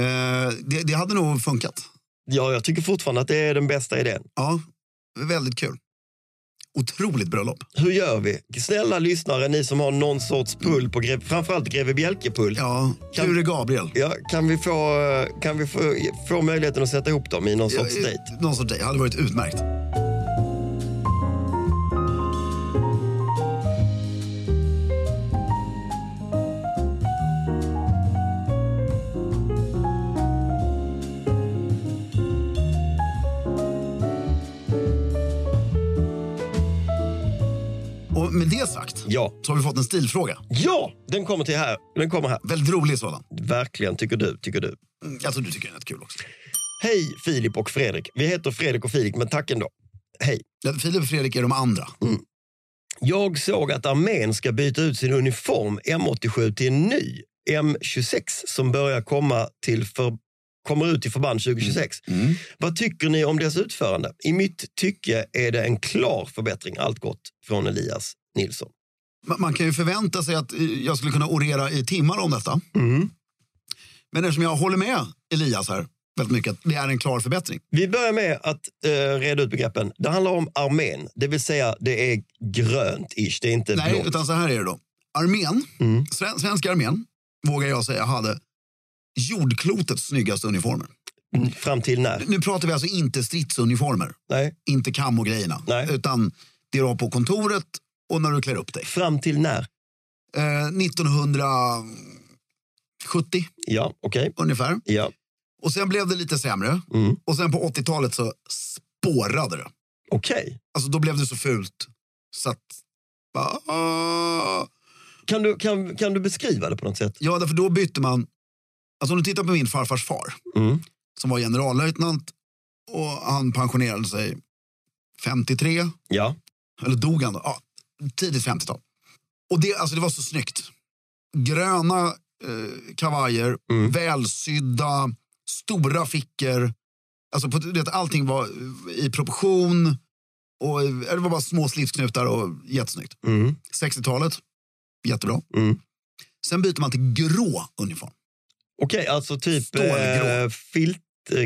Speaker 1: Eh, det, det hade nog funkat.
Speaker 2: Ja, jag tycker fortfarande att det är den bästa idén.
Speaker 1: Ja, väldigt kul. Otroligt bröllop.
Speaker 2: Hur gör vi? Snälla lyssnare, ni som har någon sorts pull på Greve, framförallt Greve Bjelke-pull.
Speaker 1: Ja,
Speaker 2: Kan-
Speaker 1: Ture Gabriel.
Speaker 2: Ja, kan vi, få, kan vi få, få möjligheten att sätta ihop dem i någon sorts
Speaker 1: Ja, eh,
Speaker 2: dejt?
Speaker 1: Någon sorts dejt. hade varit utmärkt. Och med det sagt
Speaker 2: Ja.
Speaker 1: så har vi fått en stilfråga.
Speaker 2: Ja, den kommer till här. Den kommer här.
Speaker 1: Väldigt rolig sådan.
Speaker 2: Verkligen, tycker du, tycker du.
Speaker 1: Mm, Jag tror du tycker den är rätt kul också.
Speaker 2: Hej Filip och Fredrik. Vi heter Fredrik och Filip, men tack ändå. Hej.
Speaker 1: Ja, Filip och Fredrik är de andra.
Speaker 2: Mm. Jag såg att armén ska byta ut sin uniform M87 till en ny M26 som börjar komma till för, kommer ut i förband 2026. Vad tycker ni om dess utförande? I mitt tycke är det en klar förbättring, allt gott, från Elias Nilsson.
Speaker 1: Ma- Man kan ju förvänta sig att eh, jag skulle kunna orera i timmar om detta. Men eftersom jag håller med Elias här väldigt mycket, att det är en klar förbättring.
Speaker 2: Vi börjar med att eh, reda ut begreppen. Det handlar om armén, det vill säga det är grönt-ish, det är inte
Speaker 1: Nej,
Speaker 2: blått.
Speaker 1: utan så här är det då. Armén,
Speaker 2: Mm.
Speaker 1: sven- svenska armén, vågar jag säga, hade jordklotets snyggaste uniformer.
Speaker 2: Mm, Fram till när?
Speaker 1: Nu pratar vi alltså inte stridsuniformer,
Speaker 2: Nej,
Speaker 1: inte kam och grejerna.
Speaker 2: Nej.
Speaker 1: Utan det du har på kontoret och när du klär upp dig.
Speaker 2: fram till när?
Speaker 1: Eh, 1970
Speaker 2: Ja, okej.
Speaker 1: ungefär.
Speaker 2: Ja,
Speaker 1: Och sen blev det lite sämre.
Speaker 2: mm.
Speaker 1: Och sen på 80-talet så spårade det.
Speaker 2: okej.
Speaker 1: Alltså då blev det så fult. Så att... Ah.
Speaker 2: Kan, du, kan, kan du beskriva det på något sätt?
Speaker 1: Ja, därför då bytte man... Alltså om du tittar på min farfars far
Speaker 2: Mm.
Speaker 1: som var generallöjtnant och han pensionerade sig 53,
Speaker 2: Ja,
Speaker 1: eller dog han då? Ja, tidigt 50-tal. Och det, alltså det var så snyggt. Gröna eh, kavajer,
Speaker 2: Mm.
Speaker 1: välsydda, stora fickor. Alltså på, du vet, allting var eh, i proportion. Och, eh, det var bara små slipsknutar och jättesnyggt.
Speaker 2: mm.
Speaker 1: 60-talet, jättebra.
Speaker 2: Mm.
Speaker 1: Sen byter man till grå uniform.
Speaker 2: okej, alltså typ
Speaker 1: Stålgrå.
Speaker 2: eh, filt... Eh,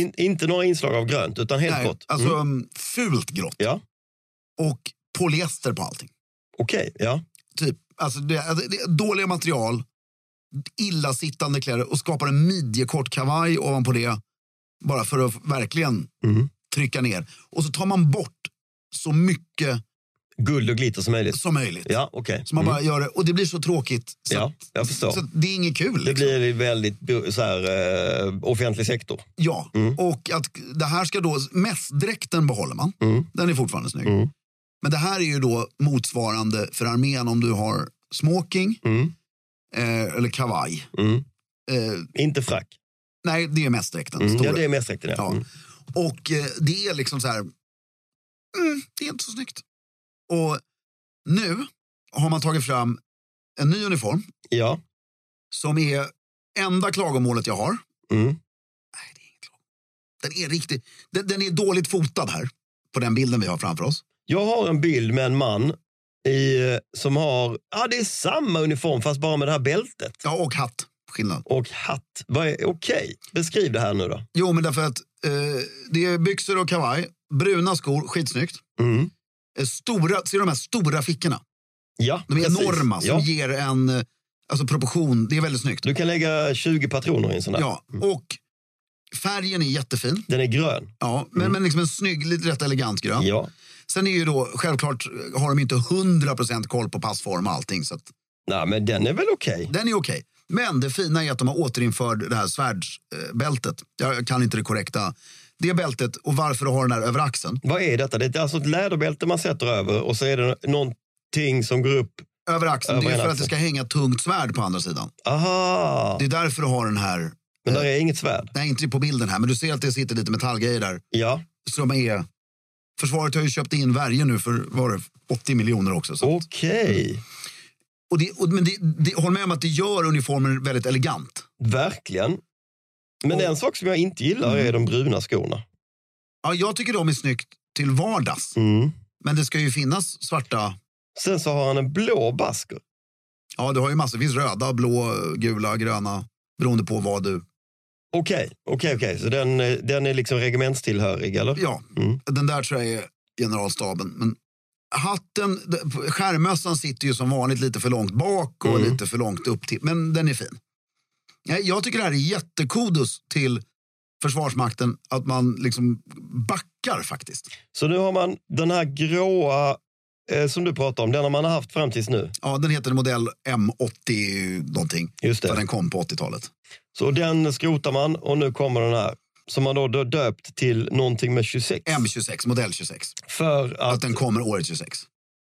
Speaker 2: in, inte några inslag av grönt, utan helt
Speaker 1: Nej,
Speaker 2: grått. Mm.
Speaker 1: Alltså mm. fult grått.
Speaker 2: Ja,
Speaker 1: Och polyester på allting.
Speaker 2: okej. ja.
Speaker 1: Typ, alltså det, det är dåliga material, illasittande kläder och skapar en midjekort kavaj ovanpå det. Bara för att verkligen
Speaker 2: Mm.
Speaker 1: trycka ner. Och så tar man bort så mycket
Speaker 2: Guld och glitter som möjligt.
Speaker 1: som möjligt.
Speaker 2: Ja, okej. Mm.
Speaker 1: Så man bara gör det, och det blir så tråkigt. Så,
Speaker 2: Ja,
Speaker 1: att-
Speaker 2: jag förstår.
Speaker 1: så att det är inget kul.
Speaker 2: Det
Speaker 1: liksom.
Speaker 2: blir väldigt bu- så här, eh, offentlig sektor.
Speaker 1: Ja,
Speaker 2: Mm.
Speaker 1: och att det här ska då, mässdräkten behåller man.
Speaker 2: Mm.
Speaker 1: Den är fortfarande snygg. Men det här är ju då motsvarande för armén om du har smoking
Speaker 2: Mm.
Speaker 1: eh, eller kavaj.
Speaker 2: Mm.
Speaker 1: Eh,
Speaker 2: Inte frack.
Speaker 1: nej, det är mässdräkten.
Speaker 2: Mm.
Speaker 1: stora.
Speaker 2: Ja, det är mässdräkten. Ja.
Speaker 1: Ja.
Speaker 2: Mm.
Speaker 1: Och eh, det är liksom så här, mm, det är inte så snyggt. Och nu har man tagit fram en ny uniform
Speaker 2: ja.
Speaker 1: som är enda klagomålet jag har.
Speaker 2: Mm.
Speaker 1: Nej, det är inget lag. Den är riktigt, den, den är dåligt fotad här på den bilden vi har framför oss.
Speaker 2: Jag har en bild med en man i, eh, som har... Ja, det är samma uniform fast bara med det här bältet.
Speaker 1: Ja, och hatt. Skillnad.
Speaker 2: Och hatt. Vad är- Okej, beskriv det här nu då.
Speaker 1: Jo, men därför att eh, det är byxor och kavaj, bruna skor, skitsnyggt.
Speaker 2: Mm.
Speaker 1: Eh, Stora, ser du de här stora fickorna?
Speaker 2: Ja,
Speaker 1: De är
Speaker 2: precis.
Speaker 1: enorma som
Speaker 2: Ja.
Speaker 1: ger en eh, alltså, proportion. Det är väldigt snyggt.
Speaker 2: Du kan lägga 20 patroner i en sån där.
Speaker 1: Ja, och färgen är jättefin.
Speaker 2: Den är grön.
Speaker 1: Ja, men, men liksom en snygg, lite rätt elegant grön.
Speaker 2: Ja.
Speaker 1: Sen är ju då, självklart eh, har de inte 100% koll på passform och allting. Så att
Speaker 2: Nej, men den är väl okej.
Speaker 1: Den är okej. Men det fina är att de har återinfört det här svärdsbältet. Jag kan inte det korrekta. Det bältet och varför du har den här över axeln.
Speaker 2: Vad är detta? Det är alltså ett läderbälte man sätter över och så är det någonting som går upp.
Speaker 1: Över axeln,
Speaker 2: Över
Speaker 1: det är
Speaker 2: hela
Speaker 1: för att det ska hänga ett tungt svärd på andra sidan.
Speaker 2: Aha!
Speaker 1: Det är därför du har den här,
Speaker 2: Men där är inget svärd.
Speaker 1: nej inte på bilden här, men du ser att det sitter lite metallgrejer där
Speaker 2: Ja,
Speaker 1: som är... Försvaret har ju köpt in värjor nu för vad var det, 80 miljoner också. Så.
Speaker 2: okej.
Speaker 1: Och det, och, men det, det, håll med om att det gör uniformen väldigt elegant.
Speaker 2: Verkligen. Men en sak som jag inte gillar
Speaker 1: Mm.
Speaker 2: är de bruna skorna.
Speaker 1: Ja, jag tycker de är snyggt till vardags, men det ska ju finnas svarta
Speaker 2: Sen så har han en blå basker.
Speaker 1: Ja, du har ju massor. Det finns röda, blå, gula, gröna. Beroende på vad du...
Speaker 2: Okej, okej, okej. Så den, eh, den är liksom regementstillhörig, eller?
Speaker 1: Ja,
Speaker 2: Mm.
Speaker 1: den där tror jag är generalstaben. Men hatten, d- skärmmössan sitter ju som vanligt lite för långt bak och
Speaker 2: Mm.
Speaker 1: lite för långt upp till. Men den är fin. Nej, Jag tycker det här är jättekodus till Försvarsmakten att man liksom backar faktiskt.
Speaker 2: Så nu har man den här gråa eh, som du pratar om, den har man haft fram tills nu.
Speaker 1: Ja, den heter modell M80 någonting.
Speaker 2: Just
Speaker 1: För
Speaker 2: det.
Speaker 1: den kom på 80-talet.
Speaker 2: Så den skrotar man och nu kommer den här. Som man då dö- döpt till någonting med 26.
Speaker 1: M26, modell 26.
Speaker 2: För att,
Speaker 1: Att den kommer året 26.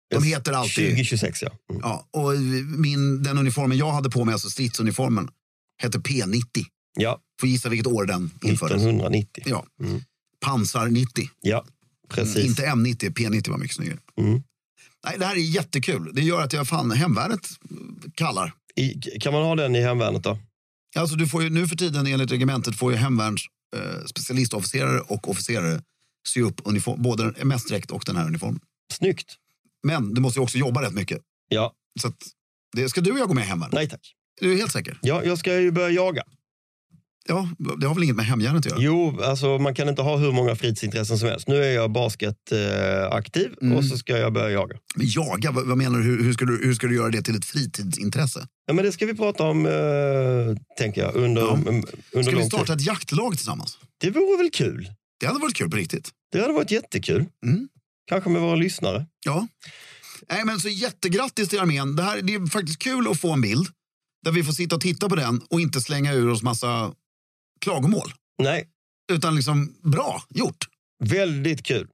Speaker 1: De heter alltid...
Speaker 2: 2026, ja. Mm.
Speaker 1: Ja, och min, den uniformen jag hade på mig, alltså stridsuniformen, hette P90.
Speaker 2: Ja,
Speaker 1: Får gissa vilket år den infördes.
Speaker 2: 1990.
Speaker 1: Ja. Pansar 90.
Speaker 2: Ja, Mm. precis.
Speaker 1: Inte M90, P90 var mycket snyggare.
Speaker 2: Mm.
Speaker 1: Nej, det här är jättekul. Det gör att jag fan, hemvärnet kallar.
Speaker 2: I, kan man ha den i hemvärnet då?
Speaker 1: Alltså du får ju, nu för tiden enligt reglementet får ju hemvärns eh, specialistofficerare och officerare sy upp uniform, både mästdräkt och den här uniformen.
Speaker 2: Snyggt.
Speaker 1: Men du måste ju också jobba rätt mycket.
Speaker 2: Ja,
Speaker 1: Så att, det ska du och jag gå med i hemvärnet?
Speaker 2: nej tack.
Speaker 1: Du är helt säker?
Speaker 2: Ja, jag ska ju börja jaga.
Speaker 1: Ja, det har väl inget med hemjärnet att göra?
Speaker 2: Jo, alltså man kan inte ha hur många fritidsintressen som helst. Nu är jag basketaktiv eh, aktiv
Speaker 1: Mm.
Speaker 2: och så ska jag börja jaga.
Speaker 1: Men jaga, vad, vad menar du? Hur, hur, ska du? hur ska du göra det till ett fritidsintresse?
Speaker 2: Ja, men det ska vi prata om, eh, tänker jag, under,
Speaker 1: Ja.
Speaker 2: m- under
Speaker 1: Ska vi
Speaker 2: lång
Speaker 1: starta
Speaker 2: tid.
Speaker 1: ett jaktlag tillsammans?
Speaker 2: Det vore väl kul?
Speaker 1: Det hade varit kul på riktigt.
Speaker 2: Det hade varit jättekul.
Speaker 1: Mm.
Speaker 2: Kanske med våra lyssnare.
Speaker 1: Ja. Nej, men så jättegrattis till armén. Det, här, det är faktiskt kul att få en bild där vi får sitta och titta på den och inte slänga ur oss massa klagomål.
Speaker 2: Nej,
Speaker 1: Utan liksom, bra gjort.
Speaker 2: väldigt kul.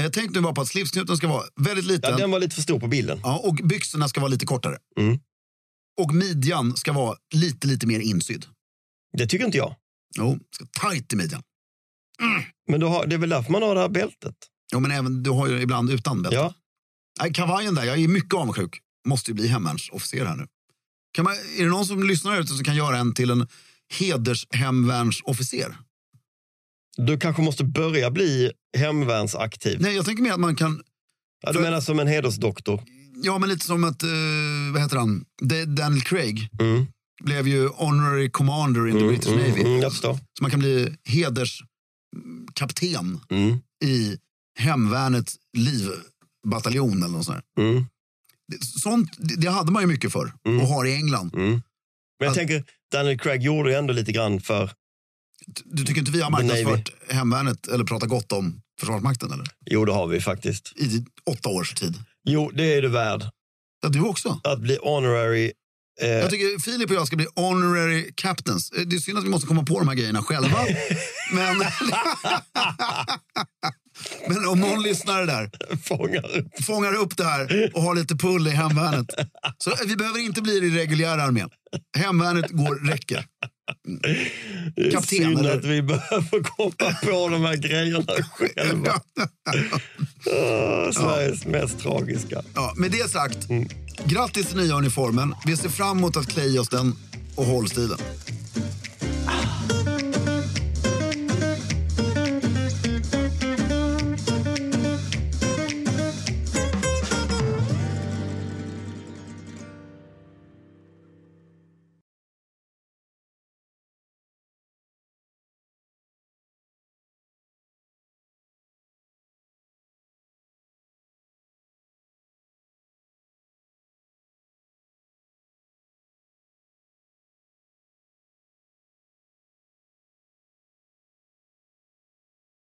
Speaker 1: Eh, tänk nu bara på att slipsknuten ska vara väldigt
Speaker 2: Ja,
Speaker 1: liten
Speaker 2: den var lite för stor på bilden.
Speaker 1: Ja, och byxorna ska vara lite kortare.
Speaker 2: Mm.
Speaker 1: Och midjan ska vara lite, lite mer insydd.
Speaker 2: Det tycker inte jag.
Speaker 1: Jo, ska tajt i midjan.
Speaker 2: Men då har, det är väl därför man har det här bältet?
Speaker 1: Jo, men även, du har ju ibland utan bälte.
Speaker 2: Ja.
Speaker 1: Nej, kavajen där, jag är mycket avundsjuk. Måste ju bli hemvärnsofficer här nu. Kan man, är det någon som lyssnar här ute som kan göra en till en hedershemvärnsofficer?
Speaker 2: Du kanske måste börja bli hemvärnsaktiv.
Speaker 1: Nej, jag tänker mer att man kan,
Speaker 2: Ja, du
Speaker 1: för-
Speaker 2: menar som en hedersdoktor?
Speaker 1: ja men lite som att, eh, vad heter han, Da- Daniel Craig
Speaker 2: Mm.
Speaker 1: blev ju honorary commander in the British
Speaker 2: mm,
Speaker 1: Navy.
Speaker 2: mm, jag förstår.
Speaker 1: Så man kan bli hederskapten
Speaker 2: Mm.
Speaker 1: i hemvärnets livbataljon eller något sånt. där.
Speaker 2: Mm.
Speaker 1: Det- Sånt, det det hade man ju mycket för och har i England.
Speaker 2: Men jag
Speaker 1: Att-
Speaker 2: tänker, Daniel Craig gjorde ju ändå lite grann för...
Speaker 1: Du tycker inte vi har
Speaker 2: Navy.
Speaker 1: marknadsfört hemvärnet eller pratat gott om Försvarsmakten eller?
Speaker 2: Jo, det har vi faktiskt.
Speaker 1: I åtta års tid.
Speaker 2: Jo, det är det värd.
Speaker 1: Ja, du också.
Speaker 2: Att bli honorary... Eh,
Speaker 1: Jag tycker Filip och jag ska bli honorary captains. Eh, Det är synd att vi måste komma på de här grejerna själva. men... men om någon lyssnare där
Speaker 2: fångar upp.
Speaker 1: fångar upp det här och har lite pull i hemvärnet. Så vi behöver inte bli i reguljära armén. Hemvärnet går, räcker.
Speaker 2: Det är
Speaker 1: Kapten,
Speaker 2: synd
Speaker 1: eller?
Speaker 2: att vi behöver komma på de här grejerna själva. Ah, Sveriges mest tragiska.
Speaker 1: Ja, med det sagt, grattis till nya uniformen. Vi ser fram emot att klä i oss den och håll stilen.